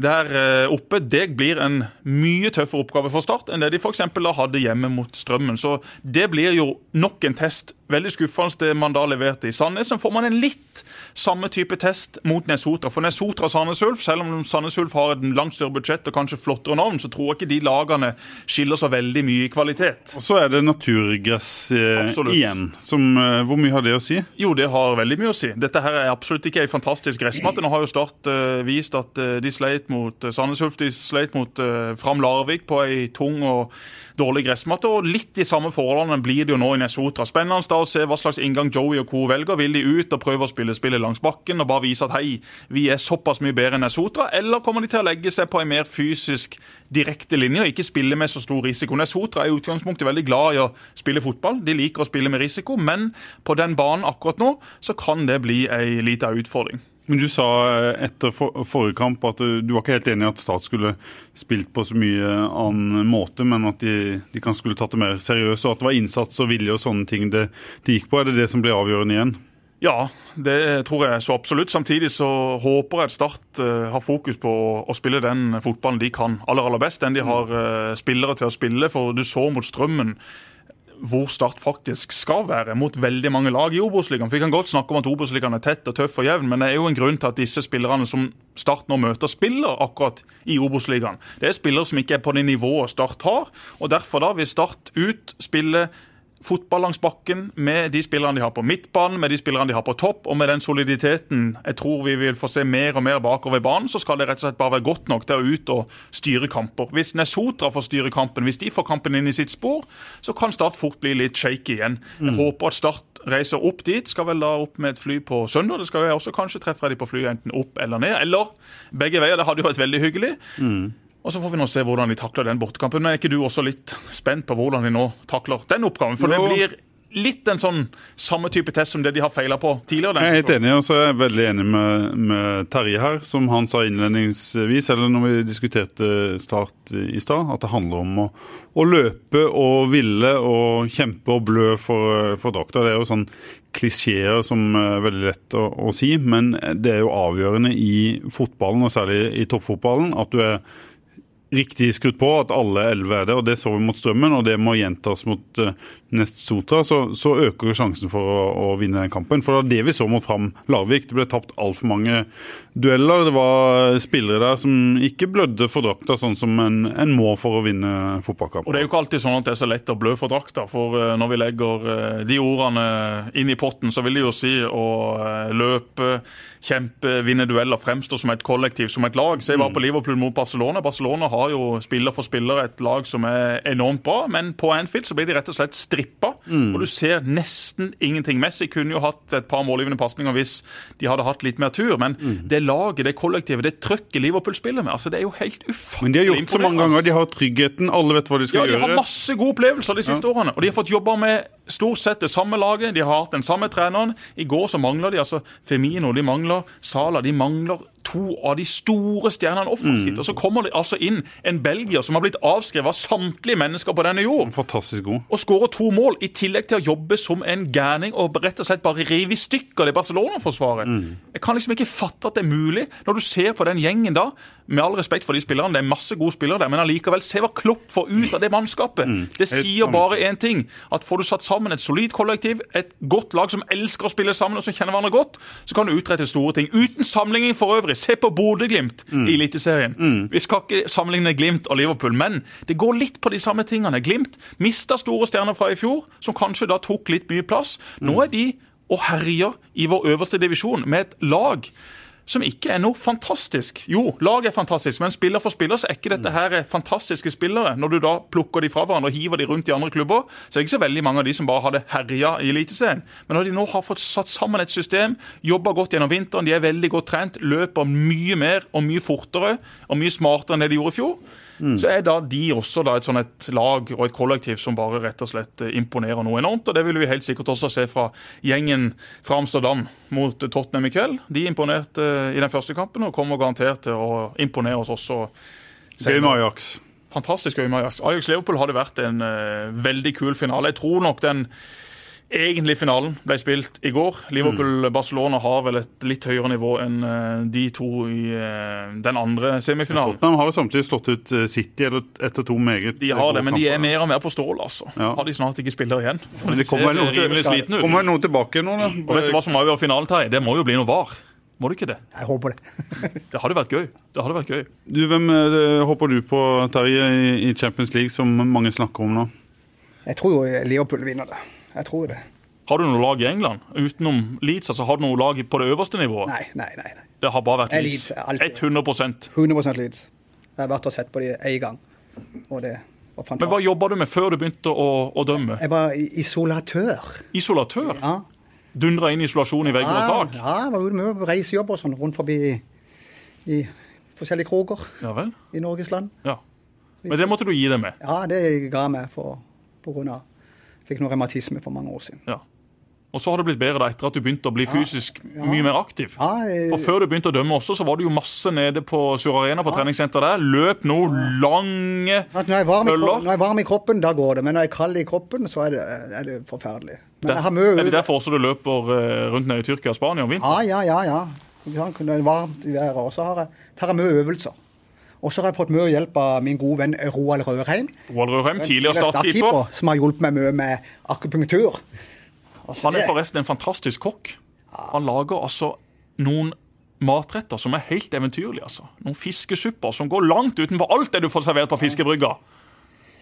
Speaker 2: der eh, oppe, det blir en mye tøffere oppgave for Start enn det de f.eks. hadde hjemme mot Strømmen. Så det blir jo nok en test. Veldig skuffende det man da leverte i Sandnes. Nå får man en litt samme type test mot Nesotra. For Nesotra og Sandnes Ulf, selv om Sandnes Ulf har et langt større budsjett og kanskje flottere navn, så tror jeg ikke de lagene skiller så veldig mye i kvalitet.
Speaker 1: Og så er det naturgress eh,
Speaker 2: Absolutt.
Speaker 1: igjen. Som, eh, hvor mye har det å si?
Speaker 2: Jo, det har veldig mye å si. Dette her er absolutt ikke ei fantastisk gressmatte. Nå har jo Start eh, vist at eh, de sleit mot eh, Sandnes Ulf, de sleit mot eh, Fram Larvik på ei tung og dårlig gressmatte. Og litt de samme forholdene blir det jo nå i Nesotra. Spennende da å se hva slags inngang Joey og co. velger. Vil de ut og prøve å spille spillet langs bakken og bare vise at hei, vi er såpass mye bedre enn Nesotra? Eller kommer de til å legge seg på ei mer fysisk direkte linje og ikke spille med så stor risiko? Nesotra er i utgangspunktet veldig glad i å spille fotball. De liker å spille med risiko, men på den banen akkurat nå så kan det bli ei lita utfordring.
Speaker 1: Men du sa eh, etter for, forrige kamp at du, du var ikke helt enig i at Start skulle spilt på så mye annen måte, men at de, de kanskje skulle tatt det mer seriøst, og at det var innsats og vilje og sånne ting det, det gikk på. Er det det som ble avgjørende igjen?
Speaker 2: Ja, det tror jeg så absolutt. Samtidig så håper jeg at Start eh, har fokus på å, å spille den fotballen de kan aller, aller best. Den de har eh, spillere til å spille, for du så mot Strømmen hvor Start faktisk skal være, mot veldig mange lag i Obos-ligaen. For Vi kan godt snakke om at Obos-ligaen er tett og tøff og jevn, men det er jo en grunn til at disse spillerne som Start nå møter, spiller akkurat i Obos-ligaen. Det er spillere som ikke er på det nivået Start har, og derfor da vil Start ut spille fotball langs bakken med de spillerne de har på midtbanen, med de spillerne de har på topp, og med den soliditeten jeg tror vi vil få se mer og mer bakover i banen, så skal det rett og slett bare være godt nok til å ut og styre kamper. Hvis Nesotra får styre kampen, hvis de får kampen inn i sitt spor, så kan Start fort bli litt shaky igjen. Jeg håper at Start reiser opp dit, skal vel da opp med et fly på søndag. Det skal jo jeg også kanskje treffe de på flyet enten opp eller ned, eller begge veier. Det hadde jo vært veldig hyggelig. Og Så får vi nå se hvordan de takler den bortekampen. Men er ikke du også litt spent på hvordan de nå takler den oppgaven? For
Speaker 1: Jo.
Speaker 2: det blir litt en sånn samme type test som det de har feila på tidligere.
Speaker 1: Jeg er helt
Speaker 2: Den,
Speaker 1: enig, og så er jeg veldig enig med, med Terje her, som han sa innledningsvis, eller når vi diskuterte Start i stad, at det handler om å, å løpe og ville og kjempe og blø for, for drakta. Det er jo sånn klisjeer som er veldig lett å, å si, men det er jo avgjørende i fotballen, og særlig i toppfotballen, at du er riktig skutt på at alle elleve er det, og det så vi mot Strømmen, og det må gjentas mot eh, Nest Sotra, så, så øker jo sjansen for å, å vinne den kampen. For det var det vi så mot Fram Larvik. Det ble tapt altfor mange dueller. Det var spillere der som ikke blødde for drakta, sånn som en, en må for å vinne fotballkamp.
Speaker 2: og det er jo ikke alltid sånn at det er så lett å blø for drakta. For eh, når vi legger eh, de ordene inn i potten, så vil det jo si å eh, løpe, kjempe, vinne dueller, fremstå som et kollektiv, som et lag. Se
Speaker 1: Mm.
Speaker 2: bare på Liverpool mot Barcelona. Barcelona har jo spiller for spiller et lag som er enormt bra, men på Anfield så blir de rett og slett strippa. klippa,
Speaker 1: Mm.
Speaker 2: og du ser nesten ingenting. Messi kunne jo hatt et par målgivende pasninger hvis de hadde hatt litt mer tur, men
Speaker 1: Mm.
Speaker 2: det laget, det kollektivet, det trøkket Liverpool spiller med, altså det er jo helt ufattelig
Speaker 1: Men de har gjort det så mange
Speaker 2: imponerende.
Speaker 1: ganger. De har tryggheten, alle vet hva de
Speaker 2: altså. Ja,
Speaker 1: skal
Speaker 2: de har
Speaker 1: gjøre.
Speaker 2: masse gode opplevelser de siste årene. Og de har fått jobba med stort sett det samme laget. De har hatt den samme treneren. I går så mangler de altså Femino, de mangler Sala, de mangler to av de store stjernene
Speaker 1: Mm.
Speaker 2: offensivt. Og så kommer det altså inn en belgier som har blitt avskrevet av samtlige mennesker på denne jord.
Speaker 1: Fantastisk god.
Speaker 2: Og skårer to mål, i tillegg til å jobbe som en gærning og rett og slett bare rive i stykker det Barcelona-forsvaret. Jeg kan liksom ikke fatte at det er mulig, når du ser på den gjengen da. Med all respekt for de spillerne, det er masse gode spillere der, men allikevel, se hva Klopp får ut av det mannskapet. Det sier
Speaker 1: sant.
Speaker 2: bare én ting. At får du satt sammen et solid kollektiv, et godt lag som elsker å spille sammen og som kjenner hverandre godt, så kan du utrette store ting. Uten sammenligning for øvrig. Se på Bodø-Glimt i Eliteserien. Vi skal ikke sammenligne Glimt og Liverpool, men det går litt på de samme tingene. Glimt mista store stjerner fra i fjor, som kanskje da tok litt mye plass. Nå er de og herjer i vår øverste divisjon med et lag som ikke er noe fantastisk. Jo, laget er fantastisk, men spiller for spiller så er ikke dette her fantastiske spillere. Når du da plukker de fra hverandre og hiver de rundt i andre klubber, så er det ikke så veldig mange av de som bare hadde herja i Eliteserien. Men når de nå har fått satt sammen et system, jobber godt gjennom vinteren, de er veldig godt trent, løper mye mer og mye fortere og mye smartere enn det de gjorde i fjor, så er da de også da et sånn et lag og et kollektiv som bare rett og slett eh, imponerer noe enormt. Og det vil vi helt sikkert også se fra gjengen fra Amsterdam mot Tottenham i kveld. De imponerte eh, i den første kampen og kommer garantert til å imponere oss også.
Speaker 1: Gøy med Ajax.
Speaker 2: Fantastisk gøy med Ajax. Ajax-Liverpool hadde vært en eh, veldig kul finale. Jeg tror nok den egentlige finalen ble spilt i går.
Speaker 1: Mm.
Speaker 2: Liverpool-Barcelona har vel et litt høyere nivå enn eh, de to i eh, den andre semifinalen.
Speaker 1: Tottenham har jo samtidig slått ut eh, City eller- etter to meget
Speaker 2: De har
Speaker 1: gode
Speaker 2: det, men de er
Speaker 1: kamper.
Speaker 2: mer og mer på stål, altså.
Speaker 1: Ja.
Speaker 2: Har de snart ikke spillere igjen?
Speaker 1: Men de kommer vel
Speaker 2: ser
Speaker 1: noe til-
Speaker 2: rimelig slitne ut.
Speaker 1: kommer vel noe tilbake nå, da.
Speaker 2: Og vet du hva som avgjør finalen, Terje? Det må jo bli noe VAR. Må det ikke det?
Speaker 3: Jeg håper det.
Speaker 2: Det hadde vært gøy. Det hadde vært gøy.
Speaker 1: Du, hvem eh, håper du på, Terje, i- i Champions League, som mange snakker om nå?
Speaker 3: Jeg tror jo Liverpool vinner det. Jeg tror det.
Speaker 2: Har du noe lag i England utenom Leeds? altså Har du noe lag på det øverste nivået?
Speaker 3: Nei, nei, nei. nei.
Speaker 2: Det har bare vært
Speaker 3: Det er
Speaker 2: Leeds.
Speaker 3: Leeds, alltid.
Speaker 2: 100
Speaker 3: 100 Leeds. Jeg har vært og sett på dem én gang, og det
Speaker 2: Men hva
Speaker 3: var fantastisk.
Speaker 2: jobba du med før du begynte å, å dømme?
Speaker 3: Jeg var i- isolatør.
Speaker 2: Isolatør?
Speaker 3: Eh, Ja. Ah,
Speaker 2: Dundra inn isolasjon i vegger
Speaker 3: Ja,
Speaker 2: og tak?
Speaker 3: ja, jeg var ute med reisejobber og sånn rundt forbi i forskjellige kroker
Speaker 2: Ja vel?
Speaker 3: i Norges land.
Speaker 2: Ja. Men det måtte du gi deg med?
Speaker 3: Ja, det ga jeg meg for på grunn av Fikk noe revmatisme for mange år siden.
Speaker 2: Ja. Og så har det blitt bedre da etter at du begynte å bli fysisk mye mer aktiv?
Speaker 3: Ja, jeg,
Speaker 2: For før du begynte å dømme også, så var du jo masse nede på Sur Arena, på treningssenteret der. Løp noe lange
Speaker 3: at når, jeg er varm i kroppen,
Speaker 2: øller.
Speaker 3: når jeg er varm i kroppen, da går det. Men når jeg er kald i kroppen, så er det, er det forferdelig. Men jeg har mye
Speaker 2: Er det derfor også du løper eh, rundt nede i Tyrkia og Spania om vinteren?
Speaker 3: Ja, ja, ja. ja. Ikke sant? Når det er varmt i været. Og så har jeg, tar jeg mye øvelser. Og så har jeg fått mye hjelp av min gode venn Roald Rørheim.
Speaker 2: Roald Rørheim, tidligere startkeeper.
Speaker 3: startkeeper, Som har hjulpet meg mye med akupunktur. Altså,
Speaker 2: Han er
Speaker 3: det-
Speaker 2: forresten en fantastisk kokk. Han lager altså noen matretter som er helt eventyrlige. altså. Noen fiskesupper som går langt utenfor alt det du får servert på fiskebrygga.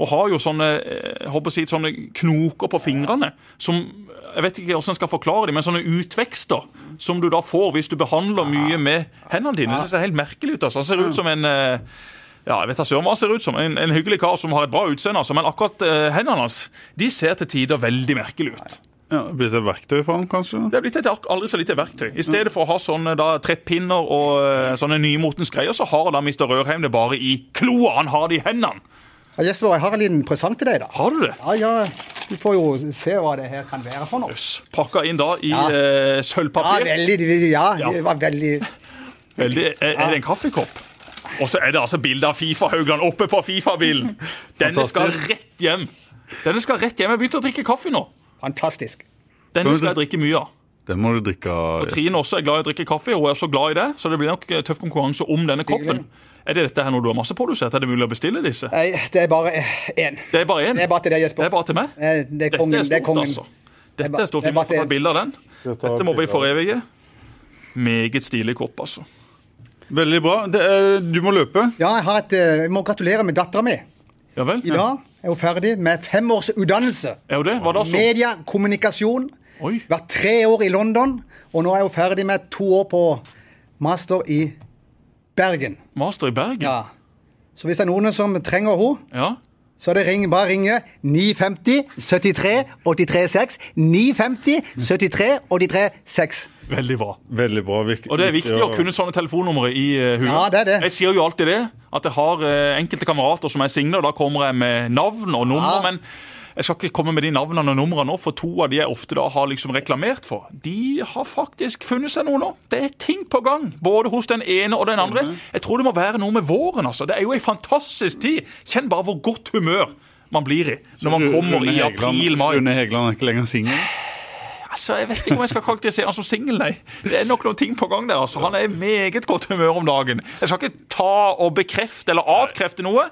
Speaker 2: Og har jo sånne eh, jeg håper å si, sånne knoker på fingrene som Jeg vet ikke hvordan jeg skal forklare dem, men sånne utvekster som du da får hvis du behandler mye med hendene dine. Det ser helt merkelig ut. altså. Han ser ut som en eh, ja, jeg vet da søren hva han ser ut som. En, en hyggelig kar som har et bra utseende, altså. men akkurat eh, hendene hans de ser til tider veldig merkelige ut.
Speaker 1: Ja, det Blir det et verktøy for han, kanskje?
Speaker 2: Det er blitt et ak- aldri så lite verktøy. I stedet for å ha sånne da, treppinner og eh, sånne nymotens greier, så har da Mr. Rørheim det bare i kloa. Han har det i hendene.
Speaker 3: Ja, Jesper, jeg har en liten presang til deg, da.
Speaker 2: Har du det?
Speaker 3: Ja, ja, Du får jo se hva det her kan være for noe.
Speaker 2: Jøss. Pakka inn da i
Speaker 3: Ja.
Speaker 2: eh,
Speaker 3: Ja,
Speaker 2: sølvpapir.
Speaker 3: veldig, ja,
Speaker 2: Ja.
Speaker 3: det var veldig
Speaker 2: Veldig, er, er det en kaffekopp? Og så er det altså bilde av Fifa-Haugland oppe på Fifa-bilen. Denne skal
Speaker 1: Fantastisk.
Speaker 2: rett hjem. Denne skal rett hjem. Jeg begynte å drikke kaffe nå.
Speaker 3: fantastisk.
Speaker 2: Denne skal jeg drikke mye av.
Speaker 1: Den må du drikke av.
Speaker 2: Og Trine også er glad i å drikke kaffe, og hun er også glad i det, så det blir nok eh, tøff konkurranse om denne koppen. Er det dette her noe du har masseprodusert? Er det mulig å bestille disse?
Speaker 3: Nei, det er bare én.
Speaker 2: Det er bare én.
Speaker 3: Det er bare til deg, Jesper.
Speaker 2: Det er bare til meg?
Speaker 3: Eh, Det er
Speaker 2: Dette er
Speaker 3: kongen. det er
Speaker 2: stort,
Speaker 3: kongen.
Speaker 2: altså.
Speaker 3: Det er
Speaker 2: Dette
Speaker 3: ba-
Speaker 2: er stort. Vi
Speaker 3: det er
Speaker 2: må
Speaker 3: bare
Speaker 2: få ta
Speaker 3: en.
Speaker 2: bilde av den.
Speaker 1: ta
Speaker 2: Dette må vi
Speaker 1: bilde av
Speaker 2: forevige. Meget stilig kopp, altså.
Speaker 1: Veldig bra. Det er, du må løpe.
Speaker 3: Ja, jeg, har et, eh, jeg må gratulere med dattera mi.
Speaker 2: Ja vel?
Speaker 3: I dag er hun ferdig med fem års utdannelse.
Speaker 2: Er jo det? Hva da så?
Speaker 3: Media, kommunikasjon.
Speaker 2: Oi.
Speaker 3: Vært tre år i London, og nå er hun ferdig med to år på master i Bergen.
Speaker 2: Master i Bergen?
Speaker 3: Ja. Så hvis det er noen som trenger henne,
Speaker 2: Ja.
Speaker 3: så er det ring, bare ringe 950 73 83 6. 950 73 83 6.
Speaker 2: Veldig bra.
Speaker 1: Veldig bra. Virke,
Speaker 2: Og det er viktig å kunne sånne telefonnumre i eh, huet.
Speaker 3: Ja, det er det.
Speaker 2: Jeg sier jo alltid det, at jeg har eh, enkelte kamerater som er singler, og da kommer jeg med navn og nummer,
Speaker 3: Ja.
Speaker 2: men jeg skal ikke komme med de navnene og numrene nå, for to av de jeg ofte da har liksom reklamert for, de har faktisk funnet seg noe nå. Det er ting på gang, både hos den ene og den andre. Jeg tror det må være noe med våren, altså. Det er jo en fantastisk tid. Kjenn bare hvor godt humør man blir i når man kommer i april-mai.
Speaker 1: Rune Hegeland er ikke lenger singel.
Speaker 2: Altså, Jeg vet ikke om jeg skal karakterisere han som singel, nei. Det er nok noen ting på gang der. altså. Han er i meget godt humør om dagen. Jeg skal ikke ta og bekrefte eller avkrefte noe,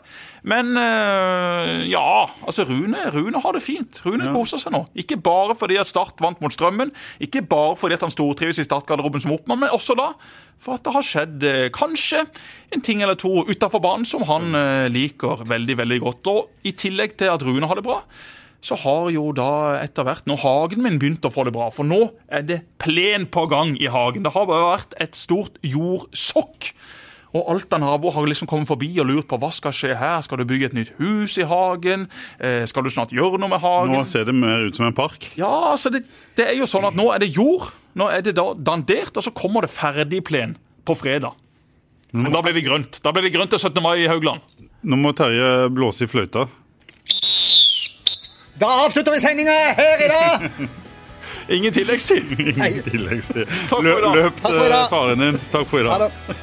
Speaker 2: men eh, ja. Altså, Rune, Rune har det fint. Rune koser seg nå. Ikke bare fordi at Start vant mot Strømmen, ikke bare fordi at han stortrives i startgarderoben som oppmann, men også da for at det har skjedd eh, kanskje en ting eller to utafor banen som han eh, liker veldig, veldig godt. Og i tillegg til at Rune har det bra, så har jo da etter hvert nå hagen min begynt å få det bra. For nå er det plen på gang i hagen. Det har bare vært et stort jordsokk. Og alt av naboer har liksom kommet forbi og lurt på hva skal skje her. Skal du bygge et nytt hus i hagen? Eh, skal du snart gjøre noe med hagen?
Speaker 1: Nå ser det mer ut som en park.
Speaker 2: Ja, altså det, det er jo sånn at nå er det jord. Nå er det da dandert, og så kommer det ferdig plen på fredag. Og da blir det grønt. Da blir det grønt til 17. mai i Haugland.
Speaker 1: Nå må Terje blåse i fløyta.
Speaker 3: Da avslutter vi sendinga her i dag!
Speaker 2: Ingen tilleggstid.
Speaker 1: Tilleggstid.
Speaker 2: for i
Speaker 1: Løp,
Speaker 2: dag.
Speaker 1: løp
Speaker 3: Takk for i
Speaker 1: eh,
Speaker 3: dag.
Speaker 1: faren din. Takk for i dag.
Speaker 3: Ha det.